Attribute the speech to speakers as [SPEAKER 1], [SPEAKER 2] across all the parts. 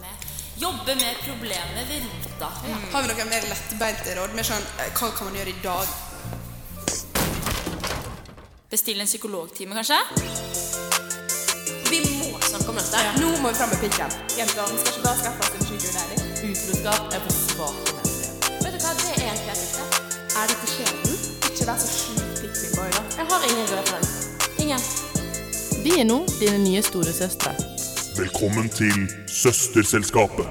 [SPEAKER 1] med Jobbe med problemet ved rota.
[SPEAKER 2] Har vi noen mer lettbeinte råd? Mer sånn, eh, hva kan man gjøre i dag?
[SPEAKER 1] Bestille en psykologtime, kanskje?
[SPEAKER 3] Vi må snakke om dette.
[SPEAKER 2] Nå må vi fram med pikken.
[SPEAKER 4] Jenter, vi skal ikke bare skaffe oss en sykehjulærling. Utroskap er for svart menneske.
[SPEAKER 3] Vet du hva, det er egentlig riktig.
[SPEAKER 4] Er dette skjebnen? Ikke vær så sjukt pick-me-boy, da.
[SPEAKER 3] Jeg har ingen rød flagg. Ingen.
[SPEAKER 5] Vi er nå dine nye storesøstre.
[SPEAKER 6] Velkommen til Søsterselskapet.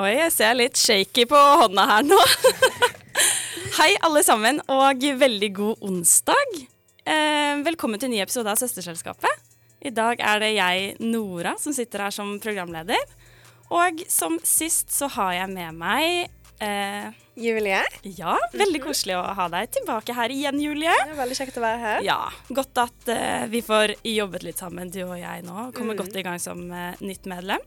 [SPEAKER 7] Oi, jeg ser litt shaky på hånda her nå. Hei, alle sammen, og veldig god onsdag. Eh, velkommen til en ny episode av Søsterselskapet. I dag er det jeg, Nora, som sitter her som programleder. Og som sist så har jeg med meg eh,
[SPEAKER 8] Julie.
[SPEAKER 7] Ja, veldig koselig å ha deg tilbake her igjen, Julie.
[SPEAKER 8] Det er veldig kjekt å være her.
[SPEAKER 7] Ja, godt at eh, vi får jobbet litt sammen, du og jeg nå. og Kommer godt i gang som eh, nytt medlem.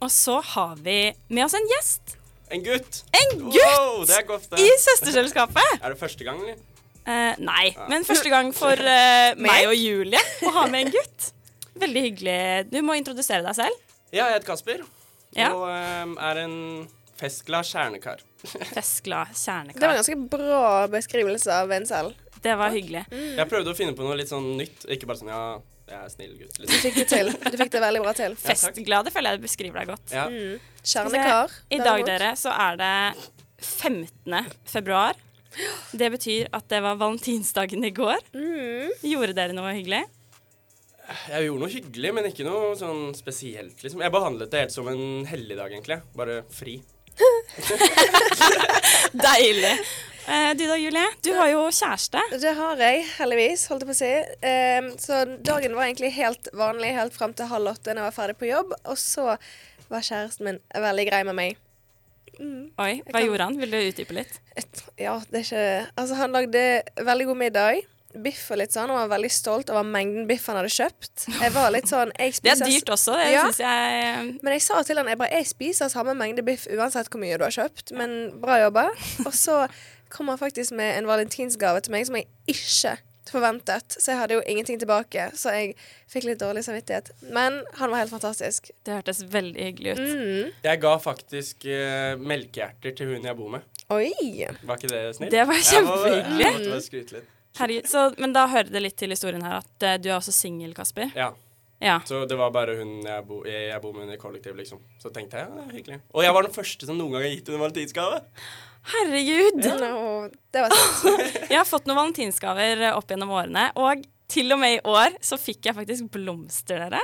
[SPEAKER 7] Og så har vi med oss en gjest
[SPEAKER 9] En gutt!
[SPEAKER 7] En
[SPEAKER 9] Wow, det er godt, det.
[SPEAKER 7] i Søsterselskapet.
[SPEAKER 9] Er det første gang, eller?
[SPEAKER 7] Eh, nei, men første gang for eh, meg og Julie å ha med en gutt. Veldig hyggelig. Du må introdusere deg selv.
[SPEAKER 9] Ja, jeg heter Kasper.
[SPEAKER 7] Ja.
[SPEAKER 9] Og ehm, er en festglad kjernekar.
[SPEAKER 7] Festglad
[SPEAKER 8] Det var en
[SPEAKER 7] kjernekar.
[SPEAKER 8] ganske bra beskrivelse av en selv.
[SPEAKER 7] Det var hyggelig.
[SPEAKER 9] Jeg prøvde å finne på noe litt sånn nytt. Ikke bare sånn ja, jeg er snill gutt.
[SPEAKER 8] Du
[SPEAKER 9] Liksom.
[SPEAKER 8] fikk det til. Du fikk det veldig bra til.
[SPEAKER 9] Ja, takk.
[SPEAKER 7] Festglade føler jeg beskriver deg godt. Eh,
[SPEAKER 9] Ja.
[SPEAKER 8] Kjernekar.
[SPEAKER 7] I dag,
[SPEAKER 8] derimot.
[SPEAKER 7] dere, så er det 15. februar. Det betyr at det var valentinsdagen i går. Gjorde dere noe hyggelig?
[SPEAKER 9] Jeg gjorde noe hyggelig, men ikke noe sånn spesielt, liksom. Jeg behandlet det helt som en helligdag, egentlig. Bare fri.
[SPEAKER 7] Deilig. Eh, du da, Julie? Du har jo kjæreste.
[SPEAKER 8] Det har jeg, heldigvis, holdt jeg på å si. Ehm, så dagen var egentlig helt vanlig helt fram til halv åtte når jeg var ferdig på jobb. Og så var kjæresten min veldig grei med meg.
[SPEAKER 7] Oi, hva gjorde han? Vil du utdype litt?
[SPEAKER 8] Et, ja, det er ikke Altså, han lagde veldig god middag. Biff og litt sånn. Han var veldig stolt over mengden biff han hadde kjøpt. Jeg var litt sånn jeg
[SPEAKER 7] Det er
[SPEAKER 8] spiser-
[SPEAKER 7] dyrt også, det
[SPEAKER 8] Ja.
[SPEAKER 7] syns jeg. eh,
[SPEAKER 8] Men jeg sa til han jeg bare, jeg spiser samme mengde biff uansett hvor mye du har kjøpt, men bra jobba. Og så kom han faktisk med en valentinsgave til meg som jeg ikke forventet, så jeg hadde jo ingenting tilbake, så jeg fikk litt dårlig samvittighet. Men han var helt fantastisk.
[SPEAKER 7] Det hørtes veldig hyggelig ut.
[SPEAKER 9] Jeg ga faktisk eh, melkehjerter til hun jeg bor med.
[SPEAKER 8] Oi!
[SPEAKER 9] Var ikke det snilt?
[SPEAKER 7] Det var
[SPEAKER 9] Jeg må-
[SPEAKER 7] kjempehyggelig.
[SPEAKER 9] Jeg måtte bare skryte litt.
[SPEAKER 7] Herregud. Så, men da hører det litt til historien her at eh, du er også singel, Kasper.
[SPEAKER 9] Ja.
[SPEAKER 7] Ja.
[SPEAKER 9] Så det var bare hun jeg, bo, jeg, jeg bor med hun i kollektiv, liksom. Så tenkte jeg ja, det er hyggelig. Og jeg var den første som noen gang har gitt henne en valentinsgave.
[SPEAKER 7] Herregud!
[SPEAKER 8] No, det var sant.
[SPEAKER 7] Jeg har fått noen valentinsgaver eh, opp gjennom årene, og til og med i år så fikk jeg faktisk blomster, dere.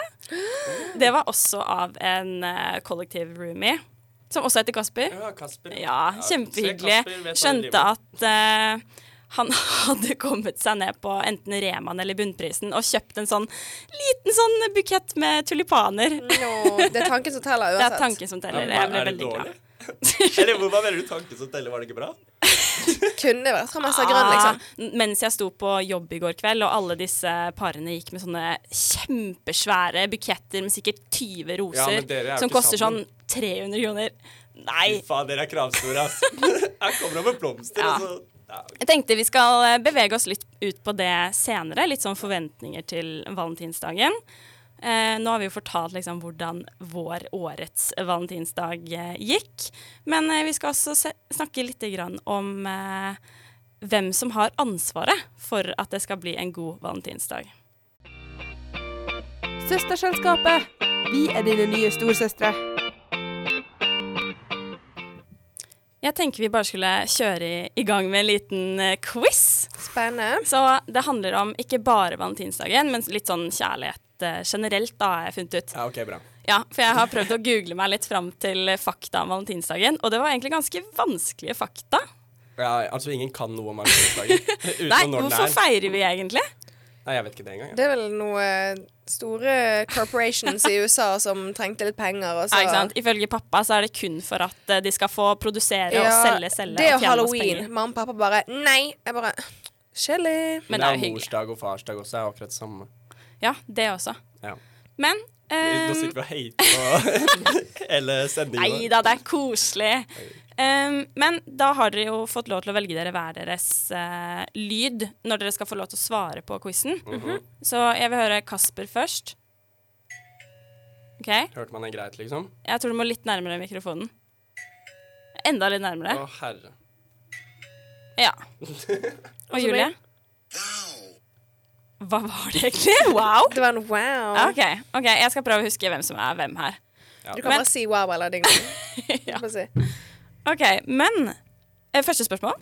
[SPEAKER 7] Det var også av en eh, kollektiv roomie, som også heter Kasper.
[SPEAKER 9] Ja, Kasper.
[SPEAKER 7] Ja, kjempehyggelig. Skjønte at eh, han hadde kommet seg ned på enten Reman eller Bunnprisen og kjøpt en sånn liten sånn bukett med tulipaner.
[SPEAKER 9] Mm.
[SPEAKER 8] No, det er tanken som teller
[SPEAKER 7] Det er
[SPEAKER 8] uansett.
[SPEAKER 7] tanken som teller. Jeg ble veldig glad.
[SPEAKER 9] Eller hvor- hva mener du tanken som teller? Var det ikke bra?
[SPEAKER 8] Kunne vært fra Mester Grønn, liksom.
[SPEAKER 7] Ah, n- Mens jeg sto på jobb i går kveld, og alle disse parene gikk med sånne kjempesvære buketter med sikkert 20
[SPEAKER 9] Ja,
[SPEAKER 7] roser
[SPEAKER 9] men dere er jo
[SPEAKER 7] som
[SPEAKER 9] ikke
[SPEAKER 7] koster sånn
[SPEAKER 9] sammen.
[SPEAKER 7] 300 kroner. Nei.
[SPEAKER 9] Fy faen, dere er kravstore, ass. Jeg kommer opp med blomster,
[SPEAKER 7] Ja.
[SPEAKER 9] og så ja, ok.
[SPEAKER 7] Jeg tenkte vi skal eh, bevege oss litt ut på det senere. Litt sånn forventninger til valentinsdagen. Eh, nå har vi jo fortalt liksom hvordan vår årets valentinsdag eh, gikk. Men eh, vi skal også se snakke litt grann om eh, hvem som har ansvaret for at det skal bli en god valentinsdag.
[SPEAKER 4] Søsterselskapet. Vi er dine nye storsøstre.
[SPEAKER 7] Jeg tenker vi bare skulle kjøre i, i gang med en liten eh, quiz.
[SPEAKER 8] Spennende.
[SPEAKER 7] Så det handler om ikke bare valentinsdagen, men litt sånn kjærlighet eh, generelt, da, har jeg funnet ut.
[SPEAKER 9] ja, OK, bra.
[SPEAKER 7] Ja, for jeg har prøvd å google meg litt fram til fakta om valentinsdagen, og det var egentlig ganske vanskelige fakta.
[SPEAKER 9] Ja, altså, ingen kan noe om valentinsdagen. Utenom
[SPEAKER 7] Nei,
[SPEAKER 9] når den
[SPEAKER 7] hvorfor
[SPEAKER 9] er.
[SPEAKER 7] feirer vi egentlig?
[SPEAKER 9] Nei, jeg vet ikke det engang. jeg.
[SPEAKER 8] Det er vel noen store corporations i USA som trengte litt penger, og så...
[SPEAKER 7] Ja, ikke sant? Ifølge pappa så er det kun for at eh, de skal få produsere og selge, selge
[SPEAKER 8] Det
[SPEAKER 7] og
[SPEAKER 8] og
[SPEAKER 7] tjene masse
[SPEAKER 8] halloween.
[SPEAKER 7] penger.
[SPEAKER 8] Mamma og pappa bare Nei! Jeg bare Kjedelig.
[SPEAKER 7] Men det er jo hyggelig.
[SPEAKER 9] morsdag og farsdag også. Det er akkurat det samme.
[SPEAKER 7] Ja, det også.
[SPEAKER 9] Ja.
[SPEAKER 7] Men
[SPEAKER 9] Nå
[SPEAKER 7] um,
[SPEAKER 9] sitter vi og hater på hele sendingen.
[SPEAKER 7] Nei da, det er koselig. Um, men da har dere jo fått lov til å velge dere hver deres eh, lyd når dere skal få lov til å
[SPEAKER 9] Mhm.
[SPEAKER 7] svare på quizen. Så jeg vil høre Kasper først. OK? Jeg
[SPEAKER 9] Hørte man det greit, liksom?
[SPEAKER 7] tror du må litt nærmere mikrofonen. Enda litt
[SPEAKER 9] Å,
[SPEAKER 7] nærmere.
[SPEAKER 9] herre.
[SPEAKER 7] Ja. Og Julie? Hva var det egentlig? Wow!
[SPEAKER 8] Det var en wow.
[SPEAKER 7] Ah, OK, ok, jeg skal prøve å huske hvem som er hvem her.
[SPEAKER 8] Du kan
[SPEAKER 7] Men-
[SPEAKER 8] bare si wow eller ding dong.
[SPEAKER 7] Ja.
[SPEAKER 8] Bare si.
[SPEAKER 7] OK, men eh, Første spørsmål.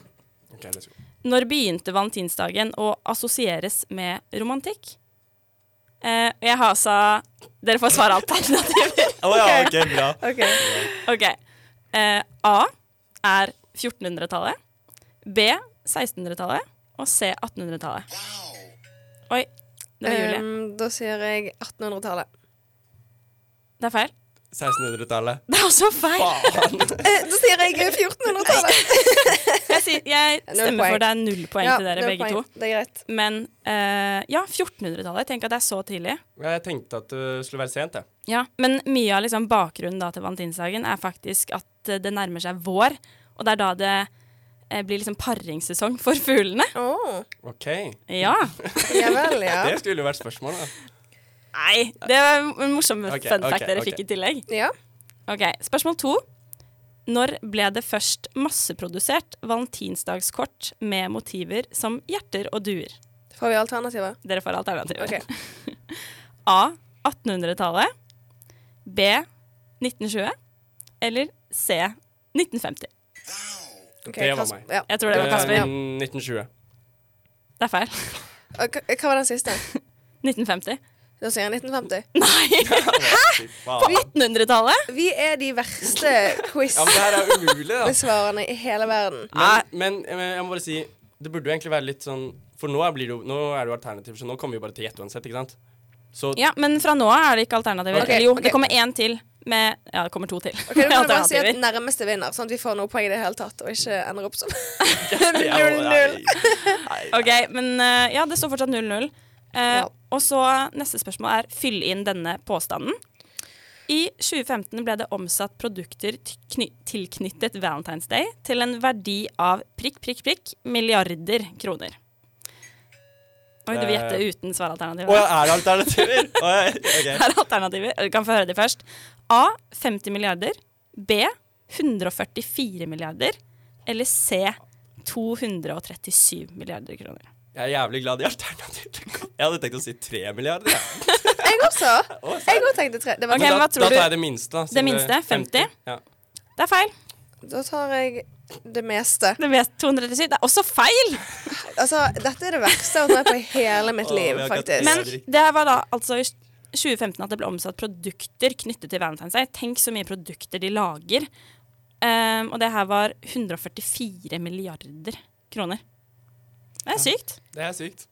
[SPEAKER 9] Ok, let's go.
[SPEAKER 7] Når begynte valentinsdagen å assosieres med romantikk? Eh, jeg har altså Dere får svare alternativer.
[SPEAKER 10] Å ja, ok, bra.
[SPEAKER 8] Ok.
[SPEAKER 7] OK. Eh, A er 1400-tallet. B 1600-tallet. Og C 1800-tallet. Oi. Det var Julie.
[SPEAKER 8] Um, da sier jeg 1800-tallet.
[SPEAKER 7] Det er feil.
[SPEAKER 10] 1600-tallet.
[SPEAKER 7] Det er også feil!
[SPEAKER 8] Eh, da sier jeg 1400-tallet!
[SPEAKER 7] Jeg, sier, jeg
[SPEAKER 8] Null
[SPEAKER 7] stemmer
[SPEAKER 8] poeng.
[SPEAKER 7] for det er null poeng til dere
[SPEAKER 8] det er
[SPEAKER 7] begge
[SPEAKER 8] poeng.
[SPEAKER 7] to.
[SPEAKER 8] Det er greit.
[SPEAKER 7] Men eh, ja, 1400-tallet. Tenk at det er så tidlig.
[SPEAKER 9] Ja, Jeg tenkte at det skulle være sent, jeg.
[SPEAKER 7] Ja, Men mye av liksom bakgrunnen da til valentinsdagen er faktisk at eh, det nærmer seg vår. Og det er da det eh, blir liksom paringssesong for fuglene.
[SPEAKER 8] Åh,
[SPEAKER 9] OK.
[SPEAKER 7] Ja.
[SPEAKER 8] ja vel, ja.
[SPEAKER 9] Det skulle jo vært spørsmål, da.
[SPEAKER 7] Nei, det var en morsom
[SPEAKER 9] Ok,
[SPEAKER 7] fun fact
[SPEAKER 9] ok,
[SPEAKER 7] dere
[SPEAKER 9] ok.
[SPEAKER 7] fikk i tillegg.
[SPEAKER 8] ja.
[SPEAKER 7] Ok, Spørsmål to. Når ble det først masseprodusert valentinsdagskort med motiver som hjerter og duer?
[SPEAKER 8] Får vi alternativer?
[SPEAKER 7] Dere får alternativer.
[SPEAKER 8] Ok.
[SPEAKER 7] A. 1800-tallet. B. 1920. Eller C. 1950.
[SPEAKER 8] Ok,
[SPEAKER 9] Det var
[SPEAKER 8] Kasper-
[SPEAKER 9] meg.
[SPEAKER 8] Ja.
[SPEAKER 7] Jeg tror det var Kasper.
[SPEAKER 9] Eh, 1920.
[SPEAKER 7] Det er feil.
[SPEAKER 8] Og Hva hva var den siste?
[SPEAKER 7] 1950.
[SPEAKER 8] Da sier jeg 1950.
[SPEAKER 7] Nei! På 1800-tallet?
[SPEAKER 8] Vi er de verste
[SPEAKER 9] Ja, men det her er jo umulig, da.
[SPEAKER 8] quiz-svarene i hele verden.
[SPEAKER 9] Men, men eh, jeg må bare si Det burde jo egentlig være litt sånn For nå er, blir det, jo- nå er det jo alternativer, så nå kommer vi jo bare til å gjette uansett, ikke sant? Så
[SPEAKER 7] Ja, men fra nå av er det ikke alternativer.
[SPEAKER 8] Ok,
[SPEAKER 7] Eller jo,
[SPEAKER 8] ok.
[SPEAKER 7] det kommer én til med Ja, det kommer to til.
[SPEAKER 8] Ok, Du
[SPEAKER 7] med
[SPEAKER 8] kan jo bare si at
[SPEAKER 7] alternativer.
[SPEAKER 8] nærmeste vinner, sånn at vi får noe poeng i det hele tatt, og ikke ender opp som
[SPEAKER 10] Det er jo-
[SPEAKER 8] 0-0.
[SPEAKER 7] Ok, men eh, ja, det står fortsatt 0-0. Eh,
[SPEAKER 8] Ja.
[SPEAKER 7] Og så neste spørsmål er fyll inn denne påstanden. I 2015 ble det omsatt produkter t- kny- tilknyttet Valentine's Day til en verdi av prikk, prikk, prikk milliarder kroner. Oi, du vil gjette
[SPEAKER 10] Eh,
[SPEAKER 7] uten svaralternativ.
[SPEAKER 10] Å ja, er det alternativer? Å, ja, ok.
[SPEAKER 7] Her er alternativer. Du kan få høre de først. A. 50 milliarder. B. 144 milliarder. Eller C. 237 milliarder kroner.
[SPEAKER 10] Jeg er jævlig glad i alternativer. Jeg hadde tenkt å si tre milliarder. jeg.
[SPEAKER 8] Jeg også. Jeg også tenkte tre. Det var
[SPEAKER 7] Ok,
[SPEAKER 9] Men
[SPEAKER 7] men
[SPEAKER 9] da,
[SPEAKER 7] hva tror
[SPEAKER 9] da
[SPEAKER 7] du?
[SPEAKER 9] tar jeg det minste, da.
[SPEAKER 7] Det minste, 50.
[SPEAKER 9] Ja.
[SPEAKER 7] Det er feil.
[SPEAKER 8] Da tar jeg det meste.
[SPEAKER 7] Det vet 237. Det er også feil!
[SPEAKER 8] Altså, dette er det verste jeg har vært med på i hele mitt
[SPEAKER 10] Åh,
[SPEAKER 8] liv,
[SPEAKER 10] vi har ikke
[SPEAKER 8] faktisk.
[SPEAKER 10] hatt det
[SPEAKER 7] Men
[SPEAKER 10] er riktig.
[SPEAKER 7] det var da altså i 2015 at det ble omsatt produkter knyttet til Valentine's Day. Tenk så mye produkter de lager. Ehm, og det her var 144 milliarder kroner. Det er sykt.
[SPEAKER 9] Det er sykt.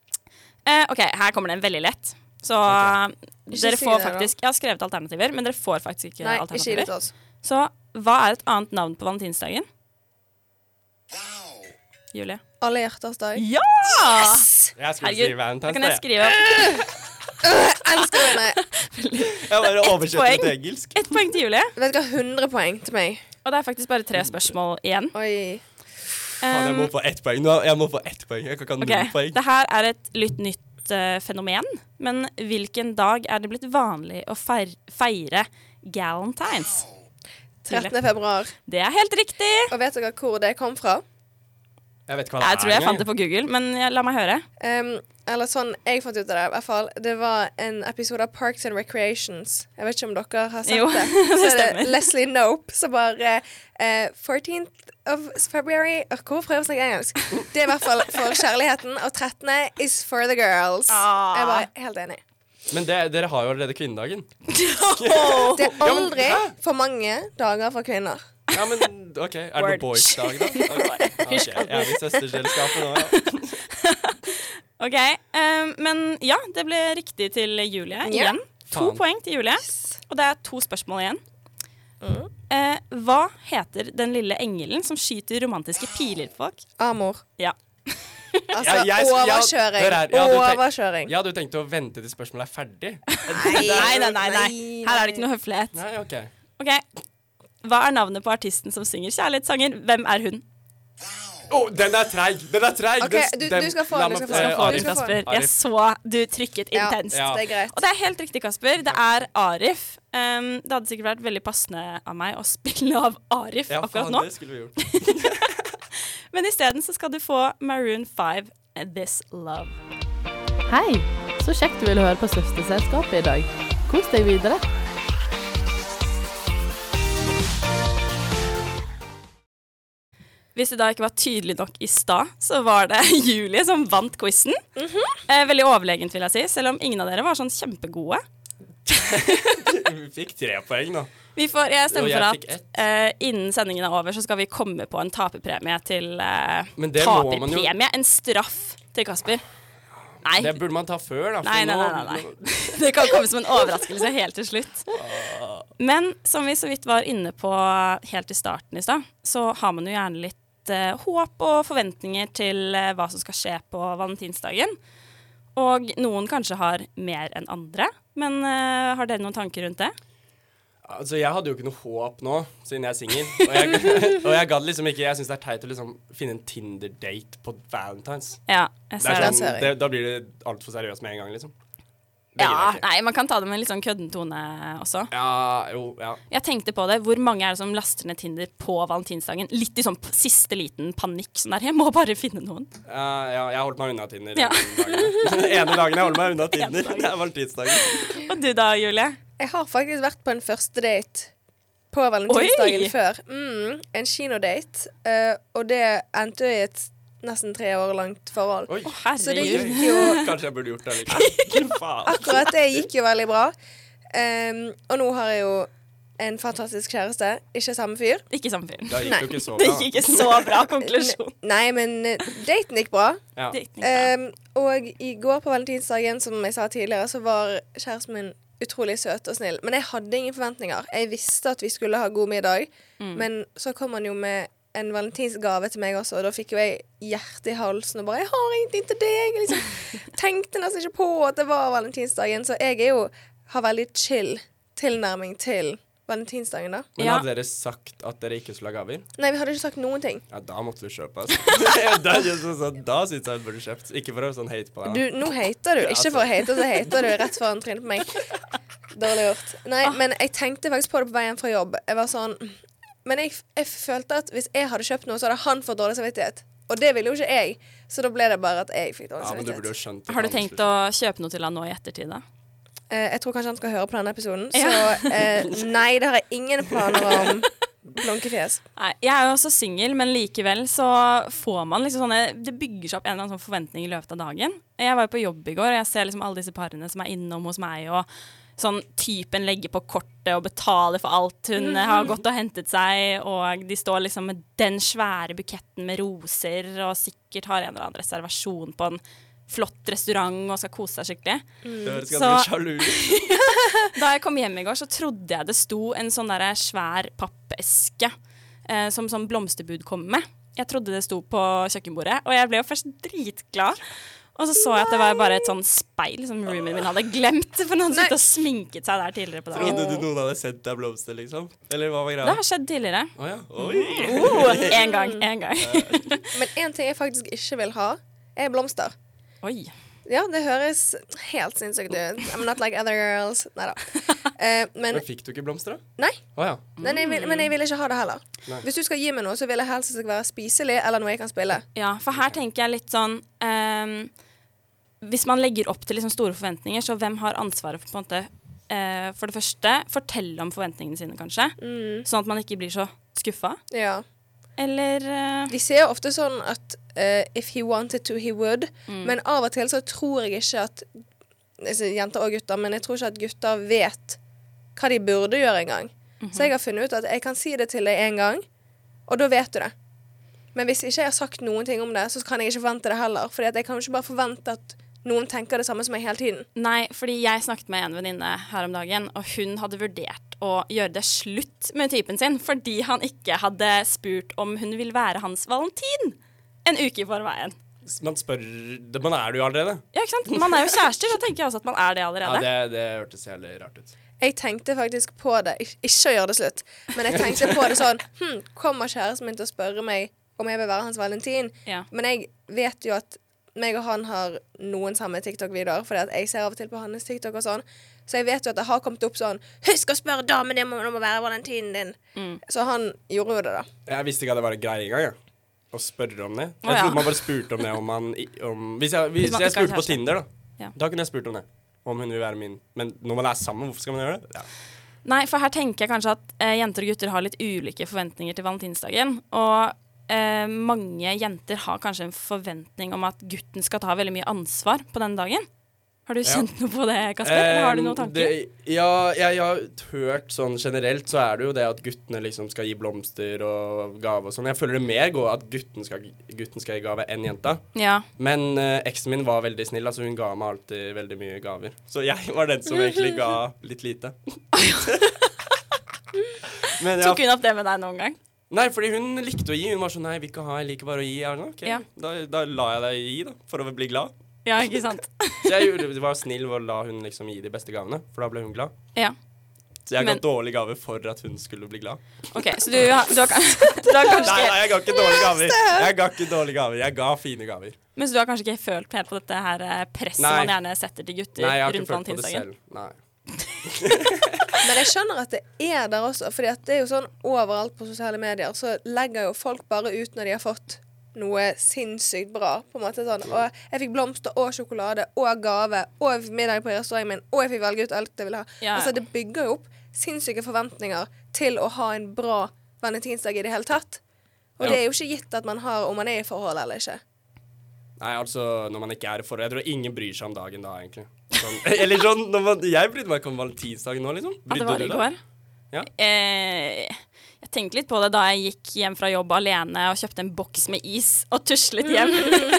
[SPEAKER 7] Eh, OK, her kommer det en veldig lett. Så eh, dere
[SPEAKER 8] Ikke si
[SPEAKER 7] får
[SPEAKER 8] det, da.
[SPEAKER 7] faktisk Jeg har skrevet alternativer, men dere får faktisk ikke
[SPEAKER 8] Nei, ikke gi
[SPEAKER 7] alternativer.
[SPEAKER 8] det til oss.
[SPEAKER 7] Så hva er et annet navn på valentinsdagen? Julie.
[SPEAKER 8] Alle hjerters dag.
[SPEAKER 7] Ja!
[SPEAKER 9] Jeg skulle si
[SPEAKER 7] Herregud, da
[SPEAKER 9] Valentine's
[SPEAKER 7] kan jeg
[SPEAKER 9] Day.
[SPEAKER 7] skrive opp
[SPEAKER 8] Elsker å vinne.
[SPEAKER 10] Jeg bare oversetter det
[SPEAKER 7] poeng.
[SPEAKER 10] til engelsk.
[SPEAKER 7] ett poeng til Julie.
[SPEAKER 8] Vet du hva, 100 poeng til meg.
[SPEAKER 7] Og det er faktisk bare tre spørsmål igjen.
[SPEAKER 8] Oi.
[SPEAKER 10] Faen, jeg må
[SPEAKER 7] Um,
[SPEAKER 10] få ett poeng. Nå, jeg må få ett poeng. Jeg kan ikke ha null
[SPEAKER 7] ok,
[SPEAKER 10] poeng.
[SPEAKER 7] Det her er et litt nytt eh, fenomen, men hvilken dag er det blitt vanlig å feir feire galentines?
[SPEAKER 8] 13. februar.
[SPEAKER 7] Det er helt riktig!
[SPEAKER 8] Og vet dere hvor det kom fra?
[SPEAKER 9] Jeg vet ikke hva det
[SPEAKER 7] Jeg tror jeg
[SPEAKER 9] engang.
[SPEAKER 7] fant det på Google, men jeg- la meg høre.
[SPEAKER 8] Um, eller sånn jeg fant ut av det, i hvert fall. Det var en episode av Parks and Recreations. Jeg vet ikke om dere har sett
[SPEAKER 7] Jo,
[SPEAKER 8] det.
[SPEAKER 7] det
[SPEAKER 8] Så er
[SPEAKER 7] stemmer.
[SPEAKER 8] det Leslie Nope som bare eh, 14th of February Åh, Hvor prøver jeg å snakke engelsk? Det er i hvert fall for kjærligheten. Og 13. is for the girls.
[SPEAKER 7] Ah.
[SPEAKER 8] Jeg er bare helt enig.
[SPEAKER 9] Men det, dere har jo allerede kvinnedagen.
[SPEAKER 8] Det er aldri for mange dager for kvinner.
[SPEAKER 9] Ja, men OK. Er det
[SPEAKER 7] Word.
[SPEAKER 9] noen boys-dag, da? Ok, ok, Jeg er i søsterselskapet nå, ja.
[SPEAKER 7] Ok, eh, Men ja, det ble riktig til Julie igjen. To
[SPEAKER 9] Faen.
[SPEAKER 7] poeng til Julie. Og det er to spørsmål igjen.
[SPEAKER 10] Mm.
[SPEAKER 7] Eh, hva heter den lille engelen som skyter romantiske piler på folk?
[SPEAKER 8] Amor.
[SPEAKER 7] Ja.
[SPEAKER 8] Altså
[SPEAKER 9] Ja, jeg- jeg-
[SPEAKER 8] overkjøring.
[SPEAKER 9] hør her, jeg hadde tenkt-
[SPEAKER 8] overkjøring.
[SPEAKER 9] Jeg hadde jo tenkt å vente til spørsmålet er ferdig.
[SPEAKER 7] Nei, nei, nei. nei. Her er det ikke noe høflighet.
[SPEAKER 9] Nei, OK.
[SPEAKER 7] Ok, Hva er navnet på artisten som synger kjærlighetssanger? Hvem er hun?
[SPEAKER 9] Å, den er treig! Den er treig!
[SPEAKER 8] Ok,
[SPEAKER 9] Den-
[SPEAKER 8] du-
[SPEAKER 9] den-
[SPEAKER 8] du skal få
[SPEAKER 9] la
[SPEAKER 8] den,
[SPEAKER 9] meg
[SPEAKER 8] du skal få
[SPEAKER 9] få-
[SPEAKER 8] den.
[SPEAKER 9] eh,
[SPEAKER 8] Du
[SPEAKER 7] Arild
[SPEAKER 9] Arif.
[SPEAKER 8] skal få
[SPEAKER 7] Kasper,
[SPEAKER 8] den.
[SPEAKER 7] jeg
[SPEAKER 9] Arif.
[SPEAKER 7] så du trykket
[SPEAKER 8] Ja,
[SPEAKER 7] intenst.
[SPEAKER 8] det er greit.
[SPEAKER 7] Og det er helt riktig, Kasper. Det er Arif. Um, det hadde sikkert vært veldig passende av meg å spille av Arif
[SPEAKER 9] Ja,
[SPEAKER 7] akkurat
[SPEAKER 9] faen,
[SPEAKER 7] nå,
[SPEAKER 9] det skulle vi gjort.
[SPEAKER 7] men isteden så skal du få Maroon 5, This Love.
[SPEAKER 5] Hei! Så kjekt du ville høre på Søsterselskapet i dag. Kos deg videre.
[SPEAKER 7] Hvis det da ikke var tydelig nok i stad, så var det Julie som vant quizen. eh, veldig overlegent, vil jeg si, selv om ingen av dere var sånn kjempegode.
[SPEAKER 9] Vi fikk tre poeng, da.
[SPEAKER 7] Vi får, jeg
[SPEAKER 9] Og
[SPEAKER 7] stemmer
[SPEAKER 9] jeg
[SPEAKER 7] for
[SPEAKER 9] fikk
[SPEAKER 7] at
[SPEAKER 9] ett.
[SPEAKER 7] eh, innen sendingen er over, så skal vi komme på en taperpremie til eh,
[SPEAKER 9] Men det må man jo-
[SPEAKER 7] Taperpremie? En straff til Kasper. Nei.
[SPEAKER 9] Det burde man ta før, da. for
[SPEAKER 7] Nei, nei,
[SPEAKER 9] nå-
[SPEAKER 7] nei, nei,
[SPEAKER 9] nå-
[SPEAKER 7] nei. Det kan komme som en overraskelse helt til slutt. Men som vi så vidt var inne på helt i starten i stad, så har man jo gjerne litt eh, håp og forventninger til eh, hva som skal skje på valentinsdagen. Og noen kanskje har mer enn andre, men eh, har dere noen tanker rundt det?
[SPEAKER 9] Altså, jeg hadde jo ikke noe håp nå, siden jeg er singel. Og jeg, og jeg gadd liksom ikke Jeg syns det er teit å liksom finne en Tinder-date på valentines.
[SPEAKER 7] Ja, jeg
[SPEAKER 9] Det er
[SPEAKER 7] ser det.
[SPEAKER 8] sant. ser
[SPEAKER 9] sånn,
[SPEAKER 8] jeg.
[SPEAKER 9] det, da blir det altfor seriøst med en gang, liksom. Det gidder
[SPEAKER 7] Ja,
[SPEAKER 9] jeg ikke.
[SPEAKER 7] nei, man kan ta det med en litt sånn kødden tone også.
[SPEAKER 9] Ja, jo, ja.
[SPEAKER 7] Jeg tenkte på det, Hvor mange er det som laster ned Tinder på valentinsdagen? Litt i sånn p- siste liten panikk. sånn der, Jeg må bare finne noen.
[SPEAKER 9] Eh, ja, jeg holdt meg unna Tinder.
[SPEAKER 7] Ja.
[SPEAKER 9] Den dagen. Den ene dagen jeg holder meg unna Tinder. Det er valentinsdagen.
[SPEAKER 7] Og du da, Julie?
[SPEAKER 8] Jeg har faktisk vært på en første date på valentinsdagen
[SPEAKER 7] Oi!
[SPEAKER 8] før. Mm, en kinodate. eh, og det endte jo i et nesten tre år langt forhold.
[SPEAKER 9] Oi.
[SPEAKER 8] Så det
[SPEAKER 7] Herregud.
[SPEAKER 8] gikk jo
[SPEAKER 9] Kanskje jeg burde gjort det likevel. Faen.
[SPEAKER 8] Akkurat det gikk jo veldig bra. Ehm, og nå har jeg jo en fantastisk kjæreste. Ikke samme fyr.
[SPEAKER 7] Ikke samme fyr.
[SPEAKER 9] Da gikk det jo ikke så
[SPEAKER 7] Det
[SPEAKER 9] bra.
[SPEAKER 7] gikk ikke så bra konklusjon.
[SPEAKER 8] Nei, men eh, daten gikk bra.
[SPEAKER 9] Ja.
[SPEAKER 7] Det gikk ikke bra.
[SPEAKER 8] Ehm, og i går på valentinsdagen, som jeg sa tidligere, så var kjæresten min utrolig søt og snill. Men jeg hadde ingen forventninger. Jeg visste at vi skulle ha god middag, men så kom han jo med en valentinsgave til meg også, og da fikk jo jeg hjertet i halsen og bare 'Jeg har ingenting til deg!' Jeg liksom tenkte nesten ikke på at det var valentinsdagen, så jeg er jo har veldig chill tilnærming til valentinsdagen, da.
[SPEAKER 9] Men
[SPEAKER 7] Ja.
[SPEAKER 9] hadde dere sagt at dere ikke skulle ha gaver?
[SPEAKER 8] Nei, vi hadde ikke sagt noen ting.
[SPEAKER 9] Ja, da måtte du kjøpe, altså. da sånn, da syns jeg du burde kjøpt. Ikke for å sånn hate på deg.
[SPEAKER 8] Du,
[SPEAKER 9] da.
[SPEAKER 8] nå hater du. Ikke for å hate, så hater du rett foran trynet på meg. Dårlig gjort. Nei,
[SPEAKER 9] Ah.
[SPEAKER 8] men jeg tenkte faktisk på det på veien fra jobb. Jeg var sånn Men jeg, jeg følte at hvis jeg hadde kjøpt noe, så hadde han fått dårlig samvittighet. Og det ville jo ikke jeg, så da ble det bare at jeg fikk dårlig
[SPEAKER 9] Ja, men du burde jo
[SPEAKER 8] samvittighet.
[SPEAKER 9] skjønt det
[SPEAKER 7] Har du
[SPEAKER 9] kan
[SPEAKER 7] tenkt
[SPEAKER 9] slutte.
[SPEAKER 7] å kjøpe noe til han nå i ettertid, da?
[SPEAKER 8] Eh, jeg tror kanskje han skal høre på denne episoden, så
[SPEAKER 7] Ja.
[SPEAKER 8] eh, nei, det har jeg ingen planer om. Blunkefjes.
[SPEAKER 7] Nei, jeg er jo også singel, men likevel så får man liksom sånne Det bygger seg opp en eller annen sånn forventning i løpet av dagen. Jeg var jo på jobb i går, og jeg ser liksom alle disse parene som er innom hos meg, og sånn typen legger på kortet og betaler for alt hun eh, har gått og hentet seg, og de står liksom med den svære buketten med roser, og sikkert har en eller annen reservasjon på en flott restaurant og skal kose seg skikkelig.
[SPEAKER 9] Det høres
[SPEAKER 7] Så-
[SPEAKER 9] ganske sjalu ut.
[SPEAKER 7] Da jeg kom hjem i går, så trodde jeg det sto en sånn der svær pappeske eh, som sånn blomsterbud kom med. Jeg trodde det sto på kjøkkenbordet, og jeg ble jo først dritglad. Og så så jeg at det var bare et sånn speil som roomien min hadde glemt. For han hadde sittet og sminket seg der tidligere på dagen.
[SPEAKER 9] Trodde du noen hadde sendt deg blomster, liksom? Eller hva var
[SPEAKER 7] Det
[SPEAKER 9] greia?
[SPEAKER 7] har skjedd tidligere. Oh,
[SPEAKER 9] Å ja. Oi.
[SPEAKER 7] En gang. En gang.
[SPEAKER 8] Men én ting jeg faktisk ikke vil ha, er blomster.
[SPEAKER 7] Oi.
[SPEAKER 8] Ja, det høres helt sinnssykt ut. I'm not like other girls. Nei da. Eh, men
[SPEAKER 9] Men fikk du ikke blomster, da?
[SPEAKER 8] Nei.
[SPEAKER 9] Å ja.
[SPEAKER 8] Men jeg, vil, men jeg vil ikke ha det heller. Hvis du skal gi meg noe, så vil jeg helst at det skal være spiselig eller noe jeg kan spille.
[SPEAKER 7] Ja, for her tenker jeg litt sånn ehm, Hvis man legger opp til liksom store forventninger, så hvem har ansvaret for på en måte eh, For det første, fortelle om forventningene sine, kanskje. Sånn at man ikke blir så skuffa.
[SPEAKER 8] Ja.
[SPEAKER 7] Eller eh,
[SPEAKER 8] De ser jo ofte sånn at eh, if he wanted to, he would. Men av og til så tror jeg ikke at altså, Jenter og gutter, men jeg tror ikke at gutter vet hva de burde gjøre engang. Så jeg har funnet ut at jeg kan si det til deg én gang, og da vet du det. Men hvis ikke jeg har sagt noen ting om det, så kan jeg ikke forvente det heller. Fordi at jeg kan jo ikke bare forvente at noen tenker det samme som meg hele tiden.
[SPEAKER 7] Nei, fordi jeg snakket med en venninne her om dagen, og hun hadde vurdert å gjøre det slutt med typen sin fordi han ikke hadde spurt om hun vil være hans valentin en uke i forveien.
[SPEAKER 9] Man spør det- Man er det jo allerede.
[SPEAKER 7] Ja, ikke sant? Man er jo kjærester, så tenker jeg også at man er det
[SPEAKER 9] Ja,
[SPEAKER 7] allerede.
[SPEAKER 9] det, det hørtes jævlig rart ut.
[SPEAKER 8] Jeg tenkte faktisk på det Ik ikke å gjøre det slutt, men jeg tenkte på det sånn hm, Kommer kjæresten min til å spørre meg om jeg vil være hans valentin.
[SPEAKER 7] Ja.
[SPEAKER 8] Men jeg vet jo at meg og han har noen samme TikTok-videoer, Fordi at jeg ser av og til på hans TikTok og sånn. Så jeg vet jo at det har kommet opp sånn 'Husk å spørre damen din om hun må være valentinen din'. Så han gjorde jo det, da.
[SPEAKER 9] Jeg visste ikke at det var en greie engang. jeg. Å spørre om det. Jeg
[SPEAKER 7] Å, ja.
[SPEAKER 9] trodde man bare spurte om det om man i- om, Hvis jeg, hvis
[SPEAKER 7] man
[SPEAKER 9] jeg
[SPEAKER 7] ikke har
[SPEAKER 9] spurte på
[SPEAKER 7] kjæreste.
[SPEAKER 9] Tinder, da.
[SPEAKER 7] Ja.
[SPEAKER 9] Da kunne jeg spurt om det. Om hun vil være min. Men når man er sammen, hvorfor skal man gjøre det? Ja.
[SPEAKER 7] Nei, for her tenker jeg kanskje at eh, jenter og gutter har litt ulike forventninger til valentinsdagen. Og eh, mange jenter har kanskje en forventning om at gutten skal ta veldig mye ansvar på den dagen. Har du kjent noe på det, Kasper? Eller har du noen
[SPEAKER 9] Eh,
[SPEAKER 7] tanker?
[SPEAKER 9] Det, ja, jeg, jeg har hørt sånn generelt, så er det jo det at guttene liksom skal gi blomster og gave og sånn. Jeg føler det mer går at gutten skal, gutten skal gi gave enn jenta.
[SPEAKER 7] Ja.
[SPEAKER 9] Men eh, eksen min var veldig snill, altså hun ga meg alltid veldig mye gaver. Så jeg var den som egentlig ga litt lite. Men ja,
[SPEAKER 7] Tok hun opp det med deg noen gang?
[SPEAKER 9] Nei, fordi hun likte å gi. Hun var sånn Nei, jeg vil ikke ha, jeg liker bare å gi. Jeg var sånn, ok,
[SPEAKER 7] Ja.
[SPEAKER 9] da, da la jeg deg gi, da, for å bli glad.
[SPEAKER 7] Ja, ikke sant?
[SPEAKER 9] Så jeg gjorde- var snill og la hun liksom gi de beste gavene, for da ble hun glad.
[SPEAKER 7] Ja.
[SPEAKER 9] Så jeg ga
[SPEAKER 7] Men-
[SPEAKER 9] dårlige gaver for at hun skulle bli glad.
[SPEAKER 7] OK, så du, har- du, har, kan- du har kanskje
[SPEAKER 9] Nei,
[SPEAKER 7] ikke
[SPEAKER 9] nei, jeg ga ikke dårlige gaver. Jeg ga ikke dårlige gaver. Jeg ga fine gaver.
[SPEAKER 7] Men så du har kanskje ikke følt helt på dette her eh, presset
[SPEAKER 9] Nei.
[SPEAKER 7] man gjerne setter til gutter
[SPEAKER 9] Nei, jeg har ikke
[SPEAKER 7] rundt
[SPEAKER 9] følt på det
[SPEAKER 7] valentinsdagen?
[SPEAKER 9] selv. Nei.
[SPEAKER 8] Men jeg skjønner at det er der også, Fordi at det er jo sånn overalt på sosiale medier så legger jo folk bare ut når de har fått noe sinnssykt bra. På en måte sånn. Og jeg fikk blomster og sjokolade og gave og middag på restauranten min, og jeg fikk velge ut alt jeg ville ha.
[SPEAKER 7] Ja.
[SPEAKER 8] Altså Det bygger jo opp sinnssyke forventninger til å ha en bra valentinsdag i det hele tatt. Og det er jo ikke gitt at man har om man er i forhold eller ikke.
[SPEAKER 9] Nei, altså, når man ikke er i forhold Jeg tror ingen bryr seg om dagen da, egentlig. Sånn. Eller sånn når man, Jeg brydde meg ikke om valentinsdagen nå, liksom.
[SPEAKER 7] At det
[SPEAKER 9] Brydde
[SPEAKER 7] var
[SPEAKER 9] du
[SPEAKER 7] i
[SPEAKER 9] deg?
[SPEAKER 7] går?
[SPEAKER 9] Ja.
[SPEAKER 7] Eh, jeg tenkte litt på det da jeg gikk hjem fra jobb alene og kjøpte en boks med is og tuslet hjem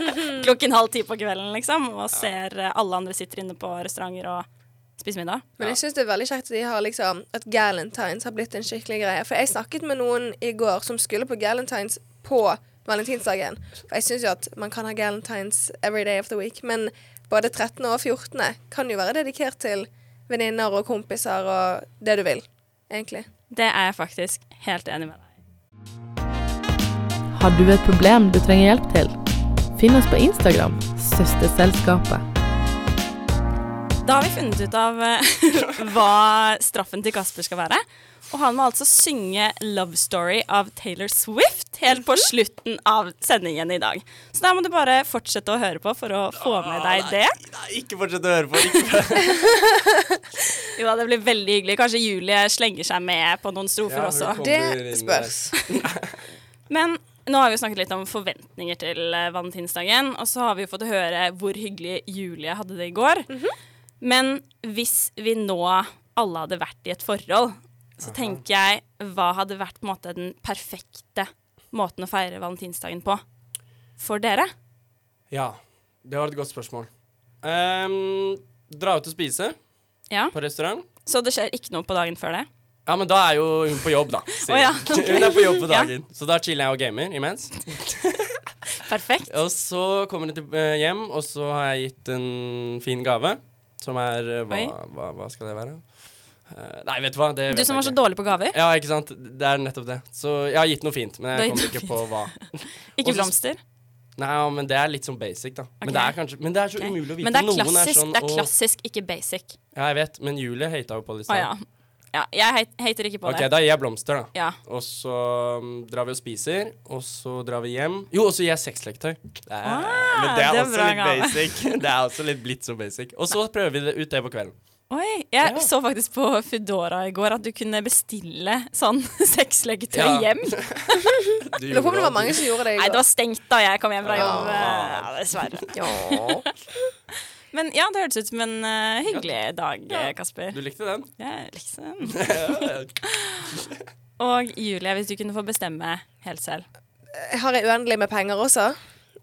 [SPEAKER 7] klokken halv ti på kvelden, liksom, og ser eh, alle andre sitter inne på restauranter og spiser middag.
[SPEAKER 8] Men jeg synes det er veldig kjekt at, de har liksom, at galentines har blitt en skikkelig greie. For jeg snakket med noen i går som skulle på galentines på valentinsdagen. For jeg synes jo at man kan ha galentines every day of the week. Men både 13. og 14. kan jo være dedikert til venninner og kompiser og det du vil, egentlig.
[SPEAKER 7] Det er jeg faktisk helt enig med deg.
[SPEAKER 5] Har du et problem du trenger hjelp til? Finn oss på Instagram, Søsterselskapet.
[SPEAKER 7] Da har vi funnet ut av eh, hva straffen til Kasper skal være. Og han må altså synge 'Love Story' av Taylor Swift helt
[SPEAKER 9] Mhm.
[SPEAKER 7] på slutten av sendingen i dag. Så da må du bare fortsette å høre på for å få med
[SPEAKER 9] Ah,
[SPEAKER 7] deg det.
[SPEAKER 9] Nei, ikke fortsett å høre på. Ikke.
[SPEAKER 7] Jo da, det blir veldig hyggelig. Kanskje Julie slenger seg med på noen strofer
[SPEAKER 9] Ja, hun
[SPEAKER 7] også.
[SPEAKER 9] kommer inn, eh,
[SPEAKER 8] Det spørs.
[SPEAKER 7] Men nå har vi jo snakket litt om forventninger til eh, valentinsdagen, og så har vi jo fått høre hvor hyggelig Julie hadde det i går. Men hvis vi nå alle hadde vært i et forhold, så tenker jeg hva hadde vært på en måte den perfekte måten å feire valentinsdagen på for dere?
[SPEAKER 9] Ja, det var et godt spørsmål. Ehm, dra ut og spise
[SPEAKER 7] Ja,
[SPEAKER 9] på restaurant.
[SPEAKER 7] Så det skjer ikke noe på dagen før det?
[SPEAKER 9] Ja, men da er jo hun på jobb, da. sier
[SPEAKER 7] Å, ja,
[SPEAKER 9] jeg. Hun er på jobb på dagen. Så da chiller jeg og gamer imens.
[SPEAKER 7] Perfekt.
[SPEAKER 9] Og så kommer de til, eh, hjem, og så har jeg gitt en fin gave. Som er eh, hva,
[SPEAKER 7] Oi.
[SPEAKER 9] hva, hva skal det være? Eh, nei, vet du hva? Det vet
[SPEAKER 7] Du som var
[SPEAKER 9] jeg
[SPEAKER 7] så
[SPEAKER 9] ikke.
[SPEAKER 7] dårlig på gaver.
[SPEAKER 9] Ja, ikke sant? Det er nettopp det. Så jeg har gitt noe fint, men
[SPEAKER 7] Du har
[SPEAKER 9] jeg
[SPEAKER 7] gitt noe
[SPEAKER 9] kommer ikke på hva.
[SPEAKER 7] Ikke
[SPEAKER 9] Og så-
[SPEAKER 7] blomster.
[SPEAKER 9] Nei, ja, men det er litt sånn basic, da. Men,
[SPEAKER 7] Ok.
[SPEAKER 9] det er kanskje, men det er så
[SPEAKER 7] Ok.
[SPEAKER 9] umulig å vite.
[SPEAKER 7] Men det er
[SPEAKER 9] Noen
[SPEAKER 7] klassisk,
[SPEAKER 9] er sånn
[SPEAKER 7] det er
[SPEAKER 9] «Å,
[SPEAKER 7] klassisk ikke basic.
[SPEAKER 9] Ja, jeg vet, men Julie hata jo på det
[SPEAKER 7] Å
[SPEAKER 9] i stad.
[SPEAKER 7] ja. ja. Jeg hate- hater ikke på
[SPEAKER 9] OK,
[SPEAKER 7] det.
[SPEAKER 9] da gir jeg blomster, da.
[SPEAKER 7] Ja.
[SPEAKER 9] Og så mm, drar vi og spiser, og så drar vi hjem. Jo, og så gir jeg sexleketøy. Det er- Men det er
[SPEAKER 7] det er
[SPEAKER 9] også
[SPEAKER 7] bra
[SPEAKER 9] litt
[SPEAKER 7] gave.
[SPEAKER 9] basic. Det er også litt blitt så basic. Og så prøver vi det ut det på kvelden.
[SPEAKER 7] Oi, jeg så faktisk på Foodora i går at du kunne bestille sånn sexleketøy
[SPEAKER 9] Ja.
[SPEAKER 7] hjem.
[SPEAKER 9] Du
[SPEAKER 8] Lurer på om det
[SPEAKER 9] gjorde
[SPEAKER 8] var mange som gjorde det i
[SPEAKER 7] Nei, det
[SPEAKER 8] går.
[SPEAKER 7] var stengt da jeg kom hjem fra jobb. Ja,
[SPEAKER 9] Ah.
[SPEAKER 7] dessverre. Men ja, det hørtes ut som en eh, hyggelig dag, eh, Kasper.
[SPEAKER 9] Du likte den?
[SPEAKER 7] Ja, liksom. Og Julie, hvis du kunne få bestemme helt selv.
[SPEAKER 8] Har jeg uendelig med penger også?